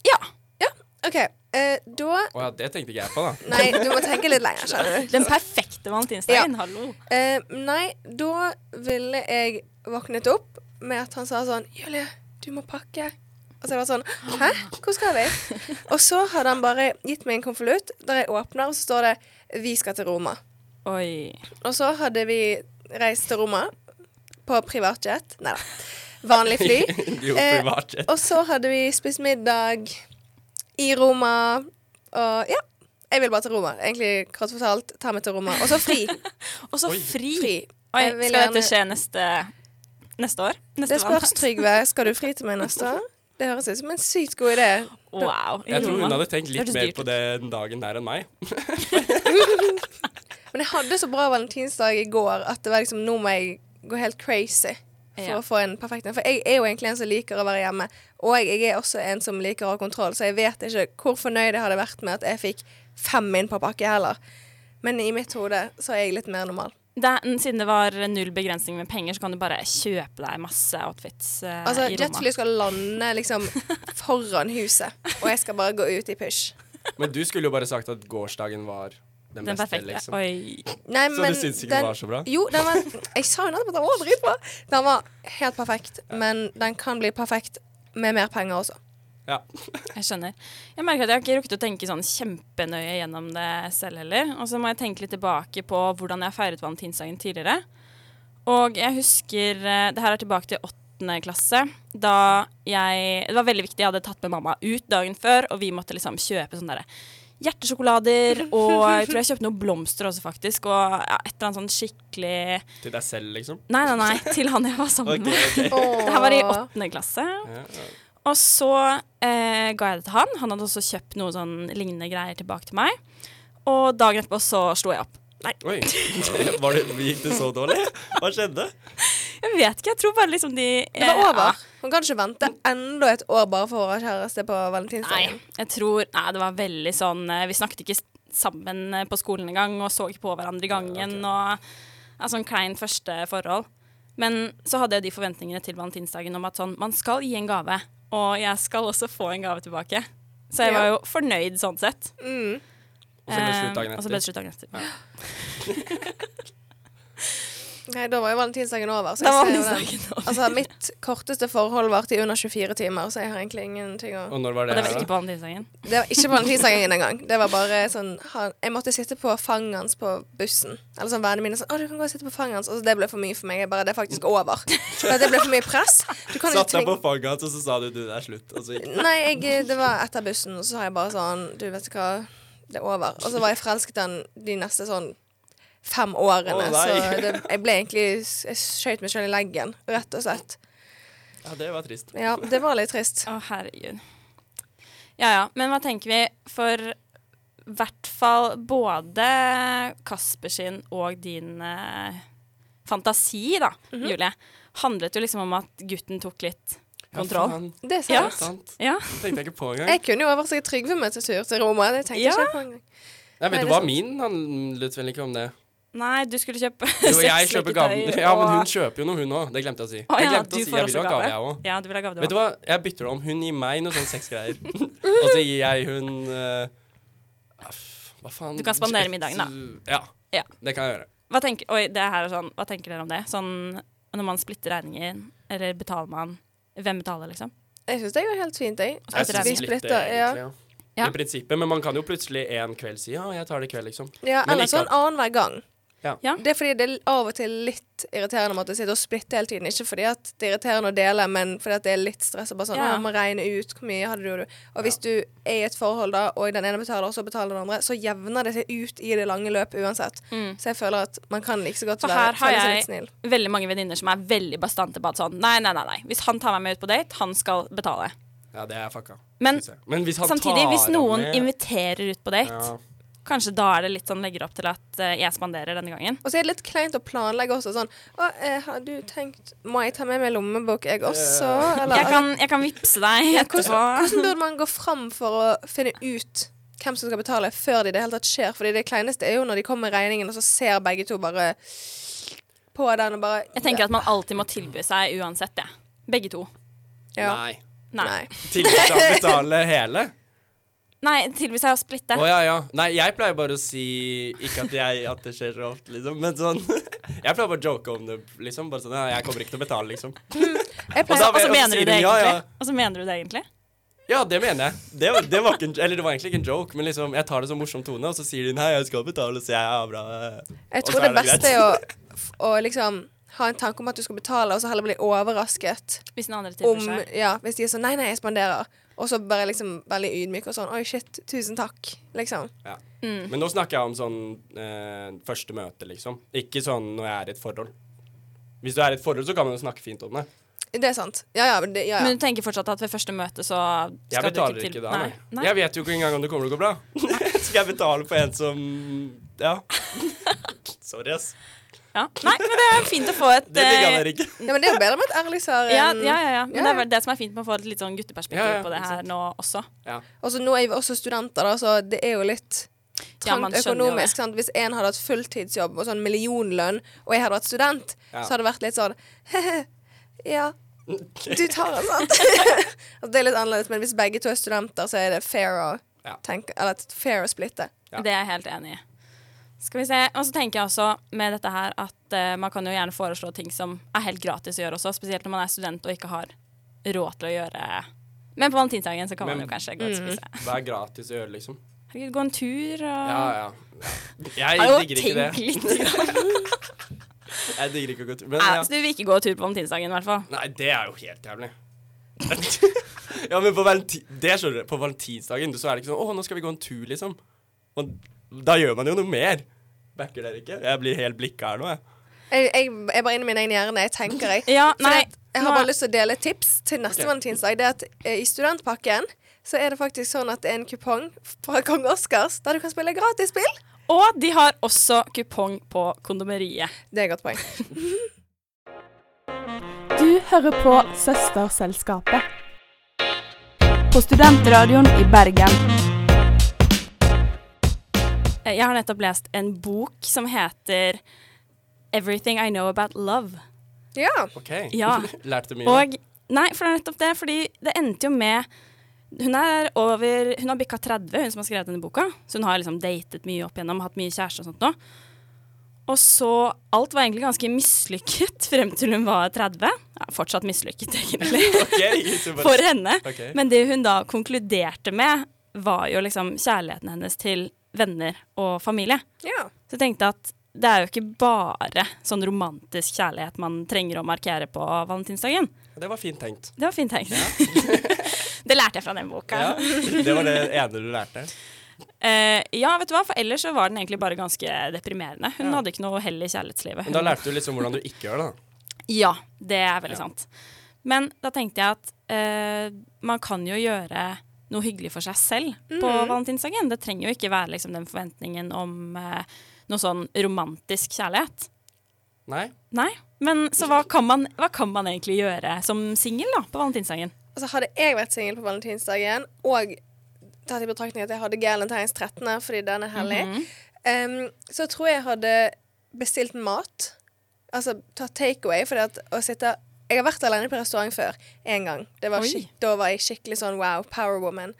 [SPEAKER 7] Ja.
[SPEAKER 8] Ja, OK. Eh, da
[SPEAKER 9] Å ja, det tenkte ikke jeg på, da.
[SPEAKER 8] Nei, du må tenke litt lenger, skjønner du.
[SPEAKER 7] Den perfekte valentinsdagen, hallo.
[SPEAKER 8] Eh, nei, da ville jeg våknet opp med at han sa sånn Julie, du må pakke. Og så jeg var sånn Hæ? Hvor skal vi? Og så hadde han bare gitt meg en konvolutt der jeg åpner, og så står det Vi skal til Roma.
[SPEAKER 7] Oi.
[SPEAKER 8] Og så hadde vi reist til Roma på privatjet. Nei da. vanlig fly.
[SPEAKER 9] Jo,
[SPEAKER 8] Eh,
[SPEAKER 9] privatjet.
[SPEAKER 8] og så hadde vi spist middag i Roma, og ja. Jeg vil bare til Roma. Egentlig kort fortalt, ta meg til Roma. Og så fri.
[SPEAKER 7] Og så fri.
[SPEAKER 8] fri.
[SPEAKER 7] Oi,
[SPEAKER 8] Jeg vil
[SPEAKER 7] skal dette
[SPEAKER 8] gjerne-
[SPEAKER 7] skje neste, neste år? Neste
[SPEAKER 8] Det spørs,
[SPEAKER 7] valg?
[SPEAKER 8] Trygve. Skal du fri til meg neste år? Det høres ut som en sykt god idé.
[SPEAKER 7] Wow.
[SPEAKER 9] Jeg tror hun hadde tenkt litt
[SPEAKER 7] Hørtes
[SPEAKER 9] mer
[SPEAKER 7] dyrt
[SPEAKER 9] på
[SPEAKER 7] ut.
[SPEAKER 9] det den dagen der enn meg.
[SPEAKER 8] Men jeg hadde så bra valentinsdag i går at det var liksom nå må jeg gå helt crazy for
[SPEAKER 7] Ja.
[SPEAKER 8] å få en perfekt en. For jeg er jo egentlig en som liker å være hjemme, og jeg er også en som liker å ha kontroll, så jeg vet ikke hvor fornøyd jeg hadde vært med at jeg fikk fem inn på pakke heller. Men i mitt hode så er jeg litt mer normal.
[SPEAKER 7] Det, er- siden det var null begrensning med penger, så kan du bare kjøpe deg masse outfits eh,
[SPEAKER 8] Altså,
[SPEAKER 7] i Roma.
[SPEAKER 8] jetfly skal lande liksom foran huset, og jeg skal bare gå ut i push.
[SPEAKER 9] Men du skulle jo bare sagt at gårsdagen var den, liksom.
[SPEAKER 7] Den perfekte. Oi.
[SPEAKER 8] Nei,
[SPEAKER 9] Så du
[SPEAKER 8] men
[SPEAKER 9] syns ikke
[SPEAKER 8] den-
[SPEAKER 9] den var så bra?
[SPEAKER 8] Jo, den var Jeg sa jo nettopp at den var dritbra. Den var helt perfekt, men den kan bli perfekt med mer penger også.
[SPEAKER 9] Ja.
[SPEAKER 7] Jeg skjønner. Jeg merker at jeg har ikke rukket å tenke sånn kjempenøye gjennom det selv heller. Og så må jeg tenke litt tilbake på hvordan jeg feiret valentinsdagen tidligere. Og jeg husker eh, Det her er tilbake til åttende klasse. Da jeg Det var veldig viktig. Jeg hadde tatt med mamma ut dagen før, og vi måtte liksom kjøpe sånne derre hjertesjokolader. Og jeg tror jeg kjøpte noen blomster også, faktisk. Og ja, et eller annet sånn skikkelig
[SPEAKER 9] Til deg selv, liksom?
[SPEAKER 7] Nei, nei, nei. Til han jeg var sammen med. Det her var i åttende klasse. Og så eh, ga jeg det til han. Han hadde også kjøpt noe sånn lignende greier tilbake til meg. Og dagen etterpå så slo jeg opp. Nei,
[SPEAKER 9] Oi. Var det, gikk det så dårlig? Hva skjedde?
[SPEAKER 7] jeg vet ikke. Jeg tror bare liksom de
[SPEAKER 8] Det var over. Hun kan ikke vente enda et år bare for å ha kjæreste på valentinsdagen.
[SPEAKER 7] Nei, jeg tror Nei, det var veldig sånn eh, Vi snakket ikke s- sammen eh, på skolen engang, og så ikke på hverandre i gangen, og ja, sånn kleint første forhold. Men så hadde jeg de forventningene til valentinsdagen om at sånn Man skal gi en gave, og jeg skal også få en gave tilbake. Så jeg
[SPEAKER 8] Ja. Mm.
[SPEAKER 7] var jo fornøyd sånn sett.
[SPEAKER 9] Og så ble det slutt dagen
[SPEAKER 7] Eh, Og så ble det
[SPEAKER 9] etter.
[SPEAKER 7] slutt dagen etter.
[SPEAKER 8] Nei, da var jo valentinsdagen over. Så
[SPEAKER 7] Da var
[SPEAKER 8] jeg ser jo den.
[SPEAKER 7] valentinsdagen over.
[SPEAKER 8] Altså, mitt korteste forhold varte i under 24 timer, så jeg har egentlig ingenting å
[SPEAKER 9] Og når
[SPEAKER 7] Og
[SPEAKER 9] var det?
[SPEAKER 7] det var
[SPEAKER 9] her,
[SPEAKER 7] ikke
[SPEAKER 9] da?
[SPEAKER 7] på valentinsdagen.
[SPEAKER 8] Det var ikke valentinsdagen engang. Det var bare sånn han, Jeg måtte sitte på fanget hans på bussen. Eller sånn vennene mine sånn 'Å, du kan gå og sitte på fanget hans.' Og så det ble for mye for meg. Jeg bare, Det er faktisk over. For det ble for mye press. Du kan ikke
[SPEAKER 9] Satt deg på
[SPEAKER 8] tvinge
[SPEAKER 9] fanget hans, og så sa du du, det er slutt. Og så gikk
[SPEAKER 8] Nei, jeg, det var etter bussen, og så sa jeg bare sånn 'Du, vet du hva, det er over.' Og så var jeg forelsket i han de neste sånn fem årene.
[SPEAKER 9] Å, nei.
[SPEAKER 8] så det, jeg ble egentlig Jeg skjøt meg sjøl i leggen, rett og slett.
[SPEAKER 9] Ja, det var trist.
[SPEAKER 8] Ja, det var litt trist.
[SPEAKER 7] Å, herregud. Ja ja, men hva tenker vi for hvert fall både Kasper sin og din eh, fantasi, da,
[SPEAKER 9] Mhm.
[SPEAKER 7] Julie, handlet jo liksom om at gutten tok litt kontroll.
[SPEAKER 9] faen.
[SPEAKER 8] Det er
[SPEAKER 7] Ja.
[SPEAKER 8] sant.
[SPEAKER 9] Sant.
[SPEAKER 7] Ja,
[SPEAKER 9] Tenkte jeg ikke på engang.
[SPEAKER 8] Jeg kunne jo oversett Trygve med til tur til Roma. Det tenkte jeg
[SPEAKER 7] Ja.
[SPEAKER 8] ikke på engang.
[SPEAKER 9] Jeg
[SPEAKER 8] Nei,
[SPEAKER 9] vet
[SPEAKER 8] det
[SPEAKER 9] du
[SPEAKER 8] er
[SPEAKER 9] hva
[SPEAKER 8] sant.
[SPEAKER 9] min handlet vel ikke om det?
[SPEAKER 7] Nei, du skulle kjøpe
[SPEAKER 9] Jo,
[SPEAKER 7] seks
[SPEAKER 9] jeg kjøper gaven.
[SPEAKER 7] leketøy
[SPEAKER 9] Ja, men
[SPEAKER 7] og-
[SPEAKER 9] hun kjøper jo noe, hun òg. Det glemte jeg å si.
[SPEAKER 7] Å,
[SPEAKER 9] Jeg
[SPEAKER 7] ja,
[SPEAKER 9] glemte
[SPEAKER 7] du
[SPEAKER 9] å si
[SPEAKER 7] får
[SPEAKER 9] jeg
[SPEAKER 7] også
[SPEAKER 9] vil ha gave, jeg òg.
[SPEAKER 7] Ja, du vil ha gave, du
[SPEAKER 9] Vet du
[SPEAKER 7] òg.
[SPEAKER 9] hva, jeg bytter det om. Hun gir meg noen sånne sexgreier. og så gir jeg hun eh, aff, Hva faen?
[SPEAKER 7] Du kan spandere middagen, da.
[SPEAKER 9] Ja.
[SPEAKER 7] Ja.
[SPEAKER 9] Det kan jeg gjøre.
[SPEAKER 7] Hva tenker, oi, det her er sånn, hva tenker dere om det? Sånn når man splitter regninger, eller betaler man Hvem betaler, liksom?
[SPEAKER 8] Jeg syns det går helt fint, jeg.
[SPEAKER 7] Jeg synes
[SPEAKER 8] vi
[SPEAKER 7] litt
[SPEAKER 8] splitter, ja.
[SPEAKER 9] eh, egentlig. Ja.
[SPEAKER 7] Ja.
[SPEAKER 9] I prinsippet, men man kan jo plutselig en kveld si ja, jeg tar det i kveld, liksom.
[SPEAKER 8] Ja,
[SPEAKER 9] Men
[SPEAKER 8] eller
[SPEAKER 9] ikke
[SPEAKER 8] sånn annenhver gang.
[SPEAKER 9] Ja.
[SPEAKER 7] Ja.
[SPEAKER 8] Det er fordi det er av og til litt irriterende å måtte sitte og splitte hele tiden. Ikke fordi at det er irriterende å dele, men fordi at det er litt stress. Og bare sånn,
[SPEAKER 7] Ja.
[SPEAKER 8] «Å, jeg må regne ut hvor mye hadde du og du. Og hvis du er i et forhold da, og den ene betaler, og så betaler den andre, så jevner det seg ut i det lange løp uansett. Så jeg føler at man kan like så godt
[SPEAKER 7] For
[SPEAKER 8] være
[SPEAKER 7] Mm. her har
[SPEAKER 8] føle seg litt
[SPEAKER 7] jeg
[SPEAKER 8] snill.
[SPEAKER 7] veldig mange venninner som er veldig bastante på at sånn Nei, nei, nei, nei. Hvis han tar meg med ut på date, han skal betale.
[SPEAKER 9] Ja, det er fucka.
[SPEAKER 7] Men
[SPEAKER 9] synes jeg. men hvis han
[SPEAKER 7] samtidig,
[SPEAKER 9] tar
[SPEAKER 7] hvis
[SPEAKER 9] han
[SPEAKER 7] noen
[SPEAKER 9] med-
[SPEAKER 7] inviterer ut på date,
[SPEAKER 9] Ja.
[SPEAKER 7] kanskje da er det litt sånn legger opp til at eh, jeg spanderer denne gangen.
[SPEAKER 8] Og så er det litt kleint å planlegge også sånn Å, eh, har du tenkt Må jeg ta med meg lommebok, jeg også? Eller
[SPEAKER 7] Jeg kan, jeg kan vippse deg etterpå.
[SPEAKER 8] Hvordan burde man gå fram for å finne ut hvem som skal betale, før det i det hele tatt skjer? Fordi det kleineste er jo når de kommer med regningen, og så ser begge to bare på den og bare
[SPEAKER 7] Jeg tenker at man alltid må tilby seg uansett, jeg. Begge to.
[SPEAKER 8] ja.
[SPEAKER 9] Nei.
[SPEAKER 7] Nei.
[SPEAKER 8] Nei.
[SPEAKER 9] Tilbud å betale hele?
[SPEAKER 7] Nei, tilby seg å splitte.
[SPEAKER 9] Å ja, ja. Nei, jeg pleier bare å si Ikke at, jeg, at det skjer så ofte, liksom, men sånn Jeg pleier bare å joke om det, liksom. Bare sånn Ja, jeg kommer ikke til å betale, liksom.
[SPEAKER 8] Jeg
[SPEAKER 9] Og
[SPEAKER 8] pleier,
[SPEAKER 7] Og
[SPEAKER 9] da
[SPEAKER 7] så
[SPEAKER 9] vet-
[SPEAKER 7] altså, mener du
[SPEAKER 9] sier
[SPEAKER 7] det
[SPEAKER 9] de, ja,
[SPEAKER 7] egentlig.
[SPEAKER 9] ja.
[SPEAKER 7] Og så mener du det egentlig.
[SPEAKER 9] Ja, det mener jeg. Det, var- det var ikke en, eller det var egentlig ikke en joke, men liksom, jeg tar det som morsom tone, og så sier de nei, jeg skal betale, så jeg er bra.
[SPEAKER 8] jeg
[SPEAKER 9] Og så
[SPEAKER 8] tror
[SPEAKER 9] er
[SPEAKER 8] det
[SPEAKER 9] det
[SPEAKER 8] beste er å, å liksom ha en tanke om at du skal betale, og så heller bli overrasket
[SPEAKER 7] Hvis den andre
[SPEAKER 8] om
[SPEAKER 7] tilbyr seg.
[SPEAKER 8] ja, Hvis de er sånn 'nei, nei, jeg spanderer', og så bare liksom veldig ydmyk og sånn 'oi, shit, tusen takk', liksom.
[SPEAKER 9] Ja.
[SPEAKER 7] Mm.
[SPEAKER 9] Men nå snakker jeg om sånn eh, første møte, liksom. Ikke sånn når jeg er i et forhold. Hvis du er i et forhold, så kan man jo snakke fint om det.
[SPEAKER 8] Det er sant. Ja ja. Det, ja,
[SPEAKER 7] Men
[SPEAKER 8] ja.
[SPEAKER 7] du tenker fortsatt at ved første møte så
[SPEAKER 9] Jeg
[SPEAKER 7] skal du
[SPEAKER 9] betaler
[SPEAKER 7] til-
[SPEAKER 9] ikke da, nei.
[SPEAKER 7] Nei.
[SPEAKER 9] Jeg vet jo ikke engang om det kommer til å gå bra. Skal jeg betale for en som Ja. Sorry, ass.
[SPEAKER 7] Ja. nei, men det er fint å få et
[SPEAKER 9] Det digga
[SPEAKER 7] eh,
[SPEAKER 9] dere ikke.
[SPEAKER 8] ja, men det er jo bedre med et ærlig svar
[SPEAKER 7] Ja,
[SPEAKER 8] enn-
[SPEAKER 7] ja, ja, ja. Men
[SPEAKER 8] Ja,
[SPEAKER 7] det
[SPEAKER 8] ja.
[SPEAKER 7] er vel det som er fint med å få et litt sånn gutteperspektiv
[SPEAKER 9] Ja, ja,
[SPEAKER 7] på det
[SPEAKER 9] ikke
[SPEAKER 7] her nå også.
[SPEAKER 8] Og så Altså, nå er vi også studenter, da, så det er jo litt
[SPEAKER 7] man
[SPEAKER 8] trangt
[SPEAKER 7] skjønner jo det.
[SPEAKER 8] økonomisk. Sant? Hvis en hadde hatt fulltidsjobb og sånn millionlønn, og jeg hadde vært student,
[SPEAKER 9] Ja.
[SPEAKER 8] så hadde det vært litt sånn Ja, du tar den, sant? altså, det er litt annerledes, men hvis begge to er studenter, så er det fair å
[SPEAKER 9] Ja.
[SPEAKER 8] tenke Eller at fair å splitte.
[SPEAKER 9] Ja.
[SPEAKER 7] Det er jeg helt enig i. Skal vi se, Og så tenker jeg også med dette her at eh, man kan jo gjerne foreslå ting som er helt gratis å gjøre også, spesielt når man er student og ikke har råd til å gjøre Men på valentinsdagen så kan man
[SPEAKER 9] Men- Mm.
[SPEAKER 7] jo kanskje gå ut og spise.
[SPEAKER 9] Hva er gratis å gjøre, liksom?
[SPEAKER 7] Herregud, gå en tur og
[SPEAKER 9] Ja, ja. ja. Jeg
[SPEAKER 7] Hallo,
[SPEAKER 9] digger ikke
[SPEAKER 7] tenk
[SPEAKER 9] det.
[SPEAKER 7] litt. grann.
[SPEAKER 9] Jeg digger ikke å gå tur. Men
[SPEAKER 7] Nei,
[SPEAKER 9] ja.
[SPEAKER 7] så altså, du vil ikke gå tur på valentinsdagen, i hvert fall.
[SPEAKER 9] Nei, det er jo helt jævlig. ja, men på, valenti det skjønner du, på valentinsdagen så er det ikke sånn 'Å, nå skal vi gå en tur', liksom. Og da gjør man jo noe mer. Backer dere ikke? Jeg blir helt blikka her nå, jeg.
[SPEAKER 8] Jeg, jeg, jeg er bare inne i min egen hjerne. Jeg tenker, jeg.
[SPEAKER 7] Ja,
[SPEAKER 8] For
[SPEAKER 7] nei,
[SPEAKER 8] det at jeg
[SPEAKER 7] nå
[SPEAKER 8] har
[SPEAKER 7] er-
[SPEAKER 8] bare lyst til å dele et tips til neste
[SPEAKER 9] Ok.
[SPEAKER 8] valentinsdag. Det er at eh, I studentpakken så er det faktisk sånn at det er en kupong fra Kong Oscars der du kan spille gratisspill.
[SPEAKER 7] Og de har også kupong på kondomeriet.
[SPEAKER 8] Det er et godt poeng.
[SPEAKER 11] Du hører på Søsterselskapet. På studentradioen i Bergen.
[SPEAKER 7] Eh, Jeg har nettopp lest en bok som heter 'Everything I Know About Love'.
[SPEAKER 8] Ja.
[SPEAKER 9] OK.
[SPEAKER 7] Ja.
[SPEAKER 9] Lærte mye.
[SPEAKER 7] Og Nei, for det er nettopp det. Fordi det endte jo med Hun er over Hun har bikka 30, hun som har skrevet denne boka. Så hun har liksom datet mye opp igjennom, hatt mye kjæreste og sånt nå. Og så Alt var egentlig ganske mislykket frem til hun var 30. Ja, fortsatt mislykket, egentlig,
[SPEAKER 9] Ok, så bare-
[SPEAKER 7] for henne.
[SPEAKER 9] Ok.
[SPEAKER 7] Men det hun da konkluderte med, var jo liksom kjærligheten hennes til venner og familie.
[SPEAKER 8] ja.
[SPEAKER 7] Så jeg tenkte at det er jo ikke bare sånn romantisk kjærlighet man trenger å markere på valentinsdagen.
[SPEAKER 9] Det var fint tenkt.
[SPEAKER 7] Det var fint tenkt. det lærte jeg fra den boka.
[SPEAKER 9] Ja.
[SPEAKER 7] Ja.
[SPEAKER 9] Det var det ene du lærte.
[SPEAKER 7] ja, vet du hva, for ellers så var den egentlig bare ganske deprimerende. Hun hadde ikke noe hell i kjærlighetslivet.
[SPEAKER 9] Men da lærte du liksom hvordan du ikke gjør det, da.
[SPEAKER 7] Ja, det er veldig sant. Men da tenkte jeg at eh, man kan jo gjøre noe hyggelig for seg selv på
[SPEAKER 9] Mm-hmm.
[SPEAKER 7] valentinsdagen. Det trenger jo ikke være liksom, den forventningen om eh, noe sånn romantisk kjærlighet.
[SPEAKER 9] Nei?
[SPEAKER 7] Nei. Men så hva kan man, hva kan man egentlig gjøre som singel da, på valentinsdagen?
[SPEAKER 8] Altså, hadde jeg vært singel på valentinsdagen, og tatt i betraktning at jeg hadde Galentines 13., fordi den er hellig,
[SPEAKER 7] Mhm. Mm-hmm.
[SPEAKER 8] em, så tror jeg jeg hadde bestilt mat. Altså tatt takeaway, fordi at å sitte Jeg har vært alene på restaurant før én gang. Det var
[SPEAKER 7] Oi.
[SPEAKER 8] skik, da var jeg skikkelig sånn wow, power woman.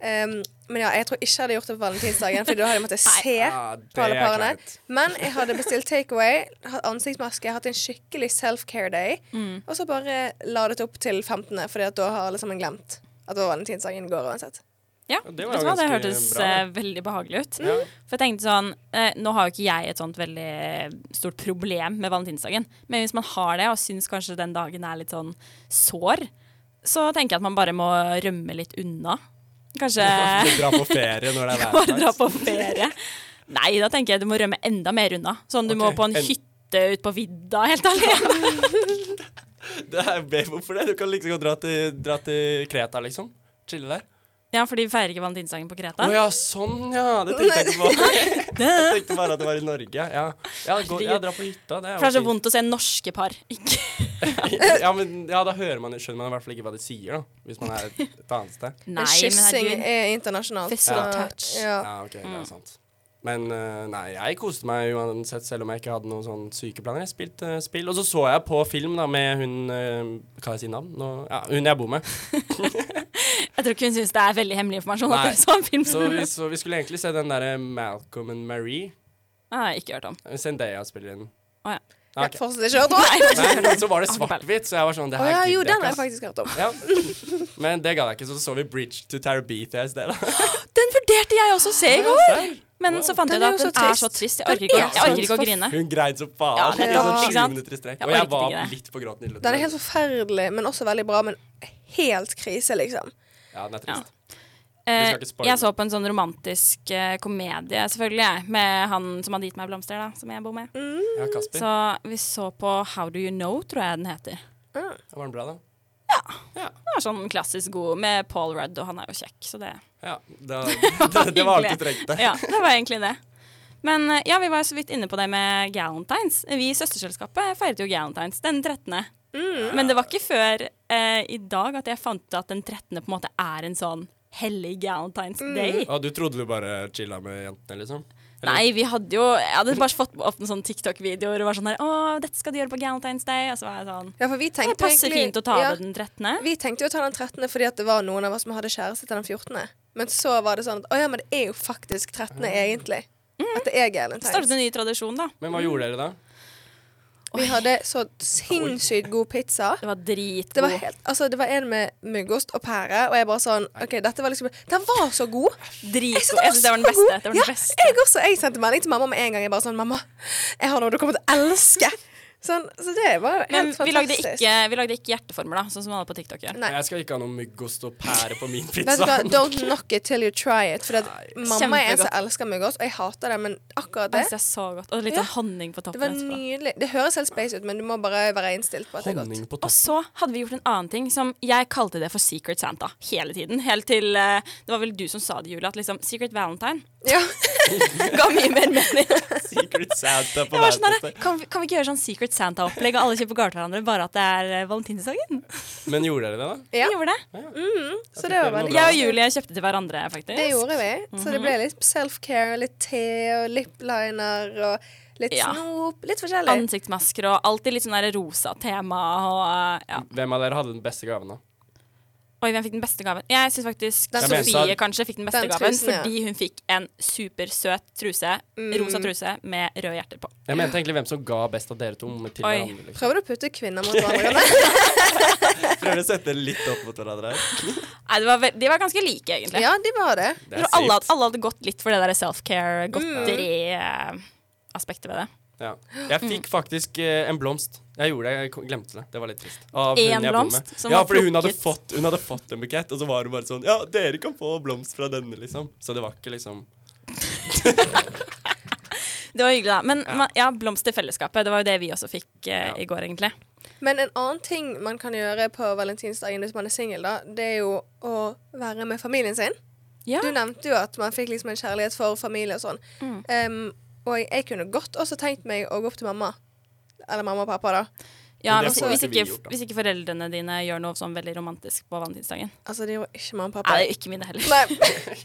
[SPEAKER 8] Em, men ja, jeg tror ikke jeg hadde gjort det på valentinsdagen, for da hadde jeg måttet se
[SPEAKER 9] Ah, det
[SPEAKER 8] på alle
[SPEAKER 9] er
[SPEAKER 8] parene.
[SPEAKER 9] kleint.
[SPEAKER 8] Men jeg hadde bestilt takeaway, hatt ansiktsmaske, hatt en skikkelig self-care-day. Og så bare ladet opp til 15., fordi at da har alle sammen glemt at det var valentinsdagen i går uansett.
[SPEAKER 7] Ja,
[SPEAKER 9] Ja,
[SPEAKER 7] det,
[SPEAKER 9] det var jo
[SPEAKER 7] det
[SPEAKER 9] ganske
[SPEAKER 7] hørtes
[SPEAKER 9] bra, det.
[SPEAKER 7] eh, veldig behagelig ut. For jeg tenkte sånn, eh, Nå har jo ikke jeg et sånt veldig stort problem med valentinsdagen, men hvis man har det og syns kanskje den dagen er litt sånn sår, så tenker jeg at man bare må rømme litt unna. Kanskje
[SPEAKER 8] Mm.
[SPEAKER 9] Dra på ferie når det er
[SPEAKER 7] bare dra
[SPEAKER 9] værfast.
[SPEAKER 7] på ferie. Nei, da tenker jeg du må rømme enda mer unna. Sånn du må
[SPEAKER 9] Ok,
[SPEAKER 7] på en
[SPEAKER 9] en-
[SPEAKER 7] hytte ute på vidda, helt ærlig.
[SPEAKER 9] Det er be- Hvorfor det? Du kan liksom dra til, dra til Kreta, liksom. Chille der.
[SPEAKER 7] Ja, for de feirer ikke valentinsdagen på
[SPEAKER 9] Å
[SPEAKER 7] Kreta.
[SPEAKER 9] ja, sånn ja. Det tenkte jeg ikke på. Jeg tenkte bare at det var i Norge. Ja, ja, gå, ja dra på hytta. Det er
[SPEAKER 7] For det er
[SPEAKER 9] jo
[SPEAKER 7] så vondt å se norske par. Ikke
[SPEAKER 9] fint. Ja, men ja, da hører man, skjønner man i hvert fall ikke hva de sier, da. Hvis man er et, et annet sted.
[SPEAKER 7] Nei,
[SPEAKER 8] men kyssing
[SPEAKER 7] herregud.
[SPEAKER 8] er internasjonalt.
[SPEAKER 7] Physical
[SPEAKER 8] så-
[SPEAKER 7] touch.
[SPEAKER 8] Ja. Mm.
[SPEAKER 9] Ja, ok, det er sant. Men eh, nei, jeg koste meg uansett, selv om jeg ikke hadde noen sånn syke planer. Jeg spilte eh, spill, og så så jeg på film da med hun eh, Kan jeg si navn? Nå, ja, hun jeg bor med.
[SPEAKER 7] Jeg tror ikke hun syns det er veldig hemmelig informasjon. at
[SPEAKER 9] Nei.
[SPEAKER 7] dere så en film
[SPEAKER 9] Så vi, så vi skulle egentlig se den derre Malcolm and Marie.
[SPEAKER 7] Jeg har ikke hørt om.
[SPEAKER 9] Zendaya spiller i den.
[SPEAKER 7] Å, ja.
[SPEAKER 9] Nei,
[SPEAKER 8] Jeg fortsatt ikke hørt om det.
[SPEAKER 9] Nei, men så var det svart-hvitt, så jeg var sånn
[SPEAKER 8] Å
[SPEAKER 9] Det her
[SPEAKER 8] ja, jo,
[SPEAKER 9] gidder
[SPEAKER 8] den har
[SPEAKER 9] jeg
[SPEAKER 8] jeg
[SPEAKER 9] ikke. ass.
[SPEAKER 8] faktisk hørt om.
[SPEAKER 9] Ja. Men det ga jeg ikke, så så vi Bridge to Terabithia i stedet.
[SPEAKER 7] Den vurderte jeg også å se i går!
[SPEAKER 9] Der.
[SPEAKER 7] Men så fant jeg ut
[SPEAKER 8] Den er
[SPEAKER 7] at
[SPEAKER 8] jo
[SPEAKER 7] den
[SPEAKER 8] så
[SPEAKER 7] er så
[SPEAKER 8] trist.
[SPEAKER 7] trist. Jeg
[SPEAKER 8] Den
[SPEAKER 7] orker ikke,
[SPEAKER 8] er
[SPEAKER 7] jeg orker
[SPEAKER 8] så
[SPEAKER 7] ikke å grine.
[SPEAKER 9] Hun grein som faen.
[SPEAKER 7] Ja,
[SPEAKER 9] i
[SPEAKER 7] nettopp,
[SPEAKER 9] sånn
[SPEAKER 7] ikke sant?
[SPEAKER 9] 20 minutter i strekk.
[SPEAKER 7] Jeg
[SPEAKER 9] Og jeg
[SPEAKER 7] orket
[SPEAKER 9] var
[SPEAKER 7] ikke det.
[SPEAKER 9] litt på gråten i løpet
[SPEAKER 8] Den
[SPEAKER 9] av
[SPEAKER 8] er helt
[SPEAKER 9] det.
[SPEAKER 8] forferdelig, men også veldig bra. Men helt krise, liksom.
[SPEAKER 9] Ja, den er
[SPEAKER 7] Ja.
[SPEAKER 9] trist.
[SPEAKER 7] Eh,
[SPEAKER 9] skal ikke spoile.
[SPEAKER 7] jeg så på en sånn romantisk eh, komedie, selvfølgelig, jeg, med han som hadde gitt meg blomster, da, som jeg bor med.
[SPEAKER 9] Ja, Kasper.
[SPEAKER 7] Så vi så på How Do You Know, tror jeg den heter.
[SPEAKER 9] Var den bra, da?
[SPEAKER 7] Det var sånn klassisk god med Paul Rudd, og han er jo kjekk, så det
[SPEAKER 9] Ja. Da, det, det var alt du trengte.
[SPEAKER 7] Ja, det var egentlig det. Men eh, ja, vi var jo så vidt inne på det med galentines. Vi i søsterselskapet feiret jo galentines den 13.
[SPEAKER 8] Mm.
[SPEAKER 7] Men det var ikke før eh, i dag at jeg fant ut at den 13. på en måte er en sånn hellig galentines
[SPEAKER 8] Mm.
[SPEAKER 7] day.
[SPEAKER 9] Og du trodde du bare chilla med jentene, liksom?
[SPEAKER 7] Nei, vi hadde jo Jeg hadde bare fått opp noen sånne TikTok-videoer og var sånn her Å, dette skal du gjøre på galentines day. Og så var jeg sånn
[SPEAKER 8] Ja, for vi tenkte
[SPEAKER 7] Det passer
[SPEAKER 8] egentlig-
[SPEAKER 7] fint å ta
[SPEAKER 8] ja,
[SPEAKER 7] det den 13.
[SPEAKER 8] Vi tenkte jo å ta den 13. fordi at det var noen av oss som hadde kjæreste til den 14. Men så var det sånn at å ja, men det er jo faktisk 13. egentlig. At det
[SPEAKER 7] Ah.
[SPEAKER 8] er
[SPEAKER 7] Mm. Startet
[SPEAKER 8] galentines.
[SPEAKER 7] en ny tradisjon, da.
[SPEAKER 9] Men hva gjorde dere da?
[SPEAKER 8] Vi hadde så sinnssykt god pizza.
[SPEAKER 7] Det var
[SPEAKER 8] Det var,
[SPEAKER 7] dritgod.
[SPEAKER 8] helt, altså, det var en med muggost og pære, og jeg bare sånn OK, dette var liksom Den var så god!
[SPEAKER 7] Dritgod. Jeg
[SPEAKER 8] Så den
[SPEAKER 7] synes det var den
[SPEAKER 8] så
[SPEAKER 7] beste.
[SPEAKER 8] god.
[SPEAKER 7] Det var
[SPEAKER 8] ja,
[SPEAKER 7] den beste.
[SPEAKER 8] Jeg også. Jeg sendte melding til mamma med en gang. Jeg bare sånn Mamma, jeg har noe du kommer til å elske! Sånn, så det var jo helt
[SPEAKER 7] Men
[SPEAKER 8] fantastisk.
[SPEAKER 7] vi lagde, ikke, vi lagde ikke hjerteformer, da, sånn som alle på TikTok gjør.
[SPEAKER 8] Nei.
[SPEAKER 9] Jeg skal ikke ha noe muggost og pære på min
[SPEAKER 8] Vet du
[SPEAKER 9] pizza.
[SPEAKER 8] hva, Don't knock it till you try it. For at mamma
[SPEAKER 7] Sånn. Kjempegodt.
[SPEAKER 8] er en som
[SPEAKER 7] Altså,
[SPEAKER 8] elsker muggost, og jeg hater det, men akkurat
[SPEAKER 7] Jeg
[SPEAKER 8] det
[SPEAKER 7] synes det er så godt. Og litt
[SPEAKER 8] Ja.
[SPEAKER 7] sånn honning på
[SPEAKER 8] Det
[SPEAKER 7] toppen.
[SPEAKER 8] var
[SPEAKER 7] etterpå.
[SPEAKER 8] nydelig. Det høres helt space ut, men du må bare være innstilt på at det er godt.
[SPEAKER 9] Honning på
[SPEAKER 7] Og
[SPEAKER 9] toppen.
[SPEAKER 7] så hadde vi gjort en annen ting som jeg kalte det for Secret Santa hele tiden. Helt til eh, Det var vel du som sa det, Julie, at liksom Secret Valentine
[SPEAKER 8] Ja.
[SPEAKER 7] ga mye mer mening.
[SPEAKER 9] Secret Santa på
[SPEAKER 7] Jeg var sånn
[SPEAKER 9] hver
[SPEAKER 7] der, kan, vi, kan vi ikke gjøre sånn Secret Santa-opplegg, og alle kjøper gave til hverandre, bare at det er eh, valentinsdagen?
[SPEAKER 9] Men gjorde dere det, da?
[SPEAKER 8] Ja.
[SPEAKER 7] Vi gjorde det.
[SPEAKER 8] Så det var veldig
[SPEAKER 9] Bra.
[SPEAKER 7] Jeg og Julie kjøpte til hverandre, faktisk.
[SPEAKER 8] Det gjorde vi.
[SPEAKER 7] altså.
[SPEAKER 8] Så
[SPEAKER 7] Mhm.
[SPEAKER 8] det ble litt self-care, litt te og lip-liner og litt
[SPEAKER 7] Ja.
[SPEAKER 8] snop. Litt forskjellig.
[SPEAKER 7] Ansiktsmasker og alltid litt sånn der rosa tema og eh, ja.
[SPEAKER 9] Hvem av dere hadde den beste gaven, da?
[SPEAKER 7] Oi, hvem fikk den beste gaven? Jeg syns faktisk
[SPEAKER 8] Den
[SPEAKER 9] trusen.
[SPEAKER 7] Sofie kanskje fikk den beste
[SPEAKER 8] Den
[SPEAKER 7] gaven,
[SPEAKER 8] trusen, ja.
[SPEAKER 7] fordi hun fikk en supersøt truse, rosa truse, med røde hjerter på.
[SPEAKER 9] Jeg mente egentlig hvem som ga best av dere to med til
[SPEAKER 7] Oi.
[SPEAKER 9] hverandre. Liksom.
[SPEAKER 8] Prøver du å putte kvinner mot hverandre?
[SPEAKER 9] Prøver å sette litt opp mot hverandre.
[SPEAKER 7] Nei, det var, vel- de var ganske like, egentlig.
[SPEAKER 8] ja, de var det.
[SPEAKER 9] Det
[SPEAKER 7] Jeg tror alle, hadde- alle hadde gått litt for det der self-care, godteri-aspektet ved det.
[SPEAKER 9] Ja. Jeg fikk
[SPEAKER 7] Mm.
[SPEAKER 9] faktisk eh, en blomst. Jeg gjorde det, jeg ko- glemte det. Det var litt trist. Av hun
[SPEAKER 7] En
[SPEAKER 9] jeg bor
[SPEAKER 7] blomst
[SPEAKER 9] med.
[SPEAKER 7] som
[SPEAKER 9] ja,
[SPEAKER 7] var
[SPEAKER 9] fordi hun hadde,
[SPEAKER 7] plukket.
[SPEAKER 9] fått, hun hadde fått en bukett, og så var hun bare sånn Ja, dere kan få blomst fra denne, liksom. Så det var ikke liksom
[SPEAKER 7] Det var hyggelig, da. Men ja, ja blomst til fellesskapet. Det var jo det vi også fikk eh,
[SPEAKER 9] Ja.
[SPEAKER 7] i går, egentlig.
[SPEAKER 8] Men en annen ting man kan gjøre på valentinsdagen hvis man er singel, da, det er jo å være med familien sin.
[SPEAKER 7] Ja. Mm.
[SPEAKER 8] Du nevnte jo at man fikk liksom en kjærlighet for familie og sånn. Em, og jeg, jeg kunne godt også tenkt meg å gå opp til mamma. Eller mamma og pappa, da.
[SPEAKER 7] Ja,
[SPEAKER 9] Men det
[SPEAKER 7] hvis,
[SPEAKER 9] får
[SPEAKER 7] hvis,
[SPEAKER 9] ikke vi
[SPEAKER 7] ikke,
[SPEAKER 9] gjort, da.
[SPEAKER 7] hvis ikke foreldrene dine gjør noe sånn veldig romantisk på valentinsdagen.
[SPEAKER 8] Altså, de var ikke mamma og pappa.
[SPEAKER 7] Nei, det er ikke mine heller.
[SPEAKER 8] Nei.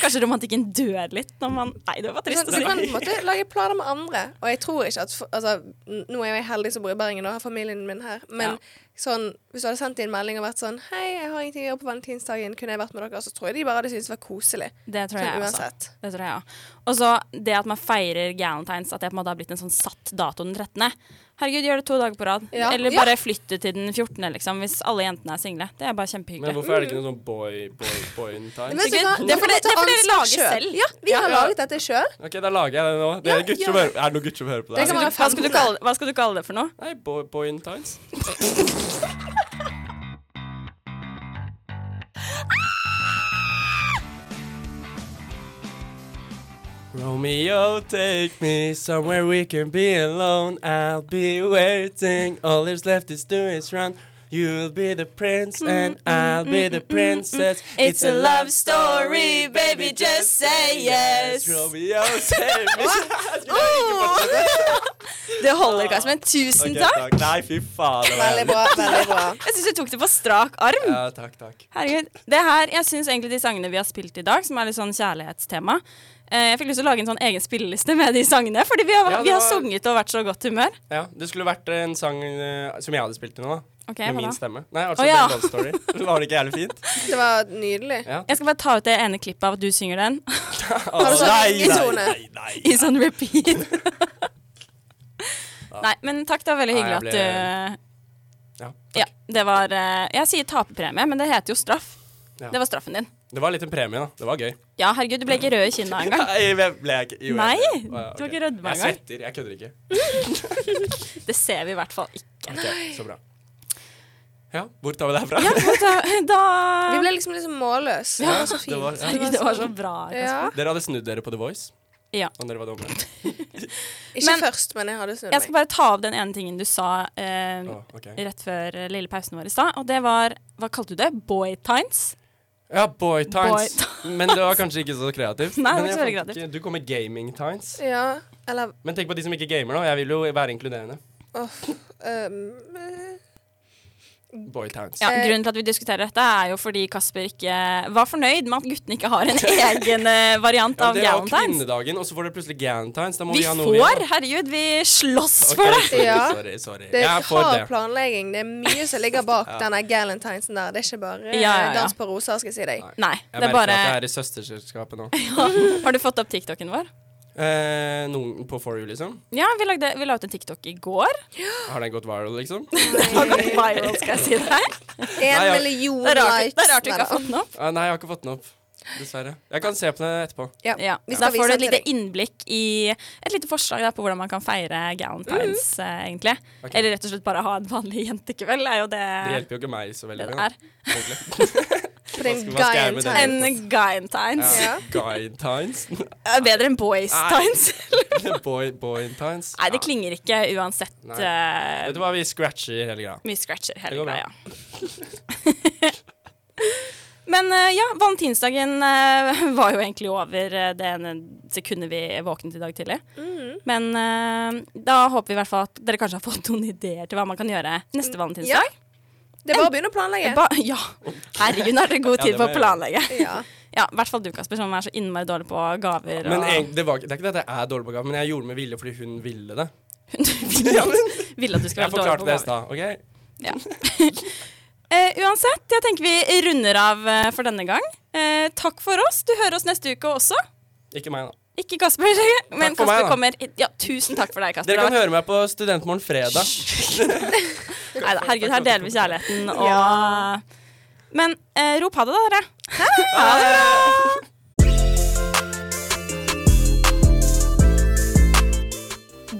[SPEAKER 7] Kanskje romantikken dør litt når man Nei, det var
[SPEAKER 8] Sånn,
[SPEAKER 7] trist å
[SPEAKER 8] så
[SPEAKER 7] si.
[SPEAKER 8] kan du på en måte lage planer med andre. Og jeg tror ikke at for, altså, n- Nå er jeg jo heldig som bor i Bergen og har familien min her, men
[SPEAKER 7] Ja.
[SPEAKER 8] sånn, hvis du hadde sendt inn melding og vært sånn 'Hei, jeg har ingenting å gjøre på valentinsdagen, kunne jeg vært med dere?' Så tror jeg de bare hadde syntes det var koselig.
[SPEAKER 7] Det tror
[SPEAKER 8] Sånn
[SPEAKER 7] jeg også.
[SPEAKER 8] uansett.
[SPEAKER 7] Det tror jeg også. Og så det at man feirer galentines, at det på en måte har blitt en sånn satt dato den 13. Herregud, gjør det to dager på rad.
[SPEAKER 8] Ja.
[SPEAKER 7] Eller
[SPEAKER 8] Ja.
[SPEAKER 7] bare flytte til den 14., liksom, hvis alle jentene er single. Det er bare
[SPEAKER 9] Men
[SPEAKER 7] kjempehyggelig.
[SPEAKER 9] hvorfor er det ikke noe sånn boy, boy, boy in time?
[SPEAKER 8] Men vet du
[SPEAKER 7] Sikkert.
[SPEAKER 8] hva?
[SPEAKER 7] Det er fordi-
[SPEAKER 8] Dere
[SPEAKER 7] det er fordi
[SPEAKER 8] tar
[SPEAKER 7] dere lager
[SPEAKER 8] ansvar
[SPEAKER 7] selv.
[SPEAKER 8] selv. Ja, vi har
[SPEAKER 9] Ja.
[SPEAKER 8] laget dette sjøl.
[SPEAKER 9] OK, da lager jeg det nå. Det er,
[SPEAKER 8] Ja,
[SPEAKER 9] gutter
[SPEAKER 8] gjør
[SPEAKER 9] som hører, er det noen gutter som hører på det?
[SPEAKER 8] kan
[SPEAKER 9] her?
[SPEAKER 8] være
[SPEAKER 7] Hva skal, du kalle, hva skal du kalle det for noe?
[SPEAKER 9] Nei, boy, boy in times. Romeo, take me somewhere we can be alone. I'll be waiting. All there's left is to is run. You'll be the prince
[SPEAKER 7] Mm,
[SPEAKER 9] and I'll be the princess.
[SPEAKER 7] It's a love story, baby, just say yes.
[SPEAKER 9] Romeo, save me.
[SPEAKER 7] Det holder, Kasmen. Tusen
[SPEAKER 9] Ok,
[SPEAKER 7] takk.
[SPEAKER 9] Nei, fy faen. det var
[SPEAKER 8] Veldig bra. veldig bra
[SPEAKER 7] Jeg syns du tok det på strak arm.
[SPEAKER 9] Ja, takk, takk.
[SPEAKER 7] Herregud. Det her, Jeg syns egentlig de sangene vi har spilt i dag, som er litt sånn kjærlighetstema eh, Jeg fikk lyst til å lage en sånn egen spilleliste med de sangene, fordi vi har,
[SPEAKER 9] Ja, det
[SPEAKER 7] vi har
[SPEAKER 9] var-
[SPEAKER 7] sunget og vært så godt humør.
[SPEAKER 9] Ja, Det skulle vært en sang eh, som jeg hadde spilt til nå, da.
[SPEAKER 7] Ok,
[SPEAKER 9] med
[SPEAKER 7] hva
[SPEAKER 9] min
[SPEAKER 7] da?
[SPEAKER 9] stemme. Nei, altså
[SPEAKER 7] Å, ja.
[SPEAKER 9] det er Love Story. Var det ikke jævlig fint?
[SPEAKER 8] Det var nydelig.
[SPEAKER 7] Jeg skal bare ta ut det ene klippet av at du synger den,
[SPEAKER 9] Å,
[SPEAKER 8] du sånn
[SPEAKER 9] nei,
[SPEAKER 8] ringtone?
[SPEAKER 9] nei, nei, nei.
[SPEAKER 7] i sånn repeat. Nei, men takk. Det var veldig
[SPEAKER 9] Nei,
[SPEAKER 7] hyggelig
[SPEAKER 9] jeg
[SPEAKER 7] at du
[SPEAKER 9] Ja,
[SPEAKER 7] Ja, det var eh, Jeg sier taperpremie, men det heter jo straff.
[SPEAKER 9] Ja.
[SPEAKER 7] Det var straffen din.
[SPEAKER 9] Det var litt en premie, da. Det var gøy.
[SPEAKER 7] Ja, herregud, du ble ikke rød i kinna engang.
[SPEAKER 9] Nei, jeg ble jeg ikke. Jo, jeg-
[SPEAKER 7] Nei,
[SPEAKER 9] Å, ja,
[SPEAKER 7] du har
[SPEAKER 9] ok.
[SPEAKER 7] ikke rødma
[SPEAKER 9] Jeg
[SPEAKER 7] engang.
[SPEAKER 9] svetter, jeg kødder ikke.
[SPEAKER 7] Det ser vi i hvert fall ikke.
[SPEAKER 9] Ok, så bra. Ja, hvor tar vi det herfra?
[SPEAKER 7] Ja, da,
[SPEAKER 8] Vi
[SPEAKER 7] da
[SPEAKER 8] ble liksom litt sånn målløse. Det var så fint.
[SPEAKER 9] det var- ja.
[SPEAKER 8] Det var
[SPEAKER 7] Det var
[SPEAKER 8] sånn-
[SPEAKER 7] så bra. Kasper.
[SPEAKER 8] ja.
[SPEAKER 9] Dere hadde snudd dere på The Voice,
[SPEAKER 7] Ja.
[SPEAKER 9] og dere var dommere.
[SPEAKER 8] Ikke
[SPEAKER 7] Men-
[SPEAKER 8] først, men jeg hadde snudd
[SPEAKER 7] Jeg skal
[SPEAKER 8] meg.
[SPEAKER 7] bare ta av den ene tingen du sa eh,
[SPEAKER 9] Å, ok.
[SPEAKER 7] rett før eh, lille pausen vår i stad, og det var Hva kalte du det? Boy times?
[SPEAKER 9] Ja, boy
[SPEAKER 7] Boy
[SPEAKER 9] times. Men det var kanskje ikke så kreativt.
[SPEAKER 7] Nei, det var
[SPEAKER 9] Men
[SPEAKER 7] ikke
[SPEAKER 9] jeg
[SPEAKER 7] så veldig
[SPEAKER 9] fant ikke- Du kom med gaming times.
[SPEAKER 8] Ja, eller
[SPEAKER 9] Men tenk på de som ikke gamer, da. Jeg vil jo være inkluderende.
[SPEAKER 8] øhm, eh,
[SPEAKER 9] Boy times.
[SPEAKER 7] Ja,
[SPEAKER 8] Eh.
[SPEAKER 7] grunnen til at vi diskuterer dette, er jo fordi Kasper ikke var fornøyd med at guttene ikke har en egen eh, variant
[SPEAKER 9] Ja, men
[SPEAKER 7] av
[SPEAKER 9] det var jo
[SPEAKER 7] galentines.
[SPEAKER 9] kvinnedagen, og så får dere plutselig galentines. Da må vi,
[SPEAKER 7] Vi
[SPEAKER 9] ha noe vi er-
[SPEAKER 7] får! Herregud, vi slåss
[SPEAKER 9] Ok,
[SPEAKER 7] for det!
[SPEAKER 9] sorry,
[SPEAKER 8] Ja.
[SPEAKER 9] Sorry, sorry.
[SPEAKER 8] Det
[SPEAKER 9] Jeg
[SPEAKER 8] er
[SPEAKER 9] er for
[SPEAKER 8] hard
[SPEAKER 9] det.
[SPEAKER 8] planlegging. Det er mye som ligger bak denne galentinesen der. Det er ikke bare eh,
[SPEAKER 7] Ja, ja, ja.
[SPEAKER 8] dans på roser, skal jeg si deg.
[SPEAKER 7] Nei,
[SPEAKER 9] Jeg
[SPEAKER 7] det er
[SPEAKER 9] merker
[SPEAKER 7] bare
[SPEAKER 9] at jeg er i søsterselskapet nå.
[SPEAKER 7] Har du fått opp TikToken vår?
[SPEAKER 9] Eh, noen på For You, liksom.
[SPEAKER 7] Ja, vi, lagde, vi la ut en TikTok i går.
[SPEAKER 9] Har den gått viral, liksom?
[SPEAKER 7] Det har gått viral, skal jeg si deg.
[SPEAKER 8] En
[SPEAKER 9] ja.
[SPEAKER 8] million
[SPEAKER 7] Det er rart,
[SPEAKER 8] likes.
[SPEAKER 7] det er rart du ikke har
[SPEAKER 8] Neida.
[SPEAKER 7] fått den opp.
[SPEAKER 9] Ah, nei, jeg har ikke fått den opp. Dessverre. Jeg kan se på den etterpå.
[SPEAKER 8] Ja.
[SPEAKER 7] Ja,
[SPEAKER 8] Vi
[SPEAKER 7] Da
[SPEAKER 8] skal
[SPEAKER 7] får du
[SPEAKER 8] vise
[SPEAKER 7] et
[SPEAKER 8] den til
[SPEAKER 7] lite
[SPEAKER 8] deg.
[SPEAKER 7] innblikk i et lite forslag da, på hvordan man kan feire galentines,
[SPEAKER 8] Mm.
[SPEAKER 7] eh, egentlig.
[SPEAKER 9] Ok.
[SPEAKER 7] Eller rett og slett bare ha en vanlig jentekveld, er jo det
[SPEAKER 9] Det hjelper jo ikke meg så veldig.
[SPEAKER 7] det det
[SPEAKER 9] da,
[SPEAKER 7] er.
[SPEAKER 9] egentlig.
[SPEAKER 8] For det er
[SPEAKER 9] Hva
[SPEAKER 8] en
[SPEAKER 9] skal- hva skal jeg med
[SPEAKER 8] galentine.
[SPEAKER 9] det?
[SPEAKER 7] En galentines.
[SPEAKER 8] Ja.
[SPEAKER 9] Guidetines.
[SPEAKER 7] Er Bedre enn boys
[SPEAKER 9] Nei.
[SPEAKER 7] times.
[SPEAKER 9] Boy, boyentines.
[SPEAKER 7] Nei, det klinger ikke uansett.
[SPEAKER 9] Nei.
[SPEAKER 7] eh,
[SPEAKER 9] Vet du hva, vi scratcher hele greia.
[SPEAKER 7] Vi scratcher
[SPEAKER 9] Det
[SPEAKER 7] hele
[SPEAKER 9] går bra.
[SPEAKER 7] greia. Men eh, ja, valentinsdagen eh, var jo egentlig over eh, det ene sekundet vi våknet i dag tidlig. Men eh, da håper vi i hvert fall at dere kanskje har fått noen ideer til hva man kan gjøre neste
[SPEAKER 8] Ja.
[SPEAKER 7] valentinsdag.
[SPEAKER 8] Det er bare å begynne å planlegge.
[SPEAKER 7] Ba ja. Herregud, nå er dere god
[SPEAKER 9] Ja,
[SPEAKER 7] tid
[SPEAKER 9] det
[SPEAKER 7] på
[SPEAKER 9] må
[SPEAKER 7] å
[SPEAKER 9] jeg
[SPEAKER 7] planlegge.
[SPEAKER 8] Ja.
[SPEAKER 7] Ja, I hvert fall du, Kasper, som er så innmari dårlig på gaver.
[SPEAKER 9] Men
[SPEAKER 7] og
[SPEAKER 9] egentlig, det, var, ikke- det er ikke det at jeg er dårlig på gaver, men jeg gjorde det med vilje fordi hun ville det.
[SPEAKER 7] ville, ville at du skulle
[SPEAKER 9] Jeg
[SPEAKER 7] være dårlig
[SPEAKER 9] forklarte
[SPEAKER 7] på
[SPEAKER 9] det
[SPEAKER 7] gaver.
[SPEAKER 9] i stad. ok?
[SPEAKER 7] Ja. Eh, uansett, jeg tenker vi runder av eh, for denne gang. Eh, takk for oss. Du hører oss neste uke også.
[SPEAKER 9] Ikke meg, da.
[SPEAKER 7] Ikke Kasper, men
[SPEAKER 9] Takk for
[SPEAKER 7] Kasper
[SPEAKER 9] meg, da.
[SPEAKER 7] kommer. Ja, tusen takk for deg, Kasper.
[SPEAKER 9] Dere kan
[SPEAKER 7] Det
[SPEAKER 9] høre meg på Studentmorgen fredag.
[SPEAKER 7] var- Neida, herregud, her deler vi kjærligheten og Men eh, rop ha det, da, dere.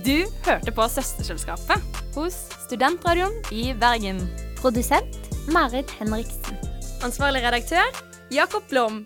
[SPEAKER 11] Du hørte på Søsterselskapet hos Studentradioen i Bergen.
[SPEAKER 12] Produsent Marit Henriksen.
[SPEAKER 11] Ansvarlig redaktør Jakob Blom.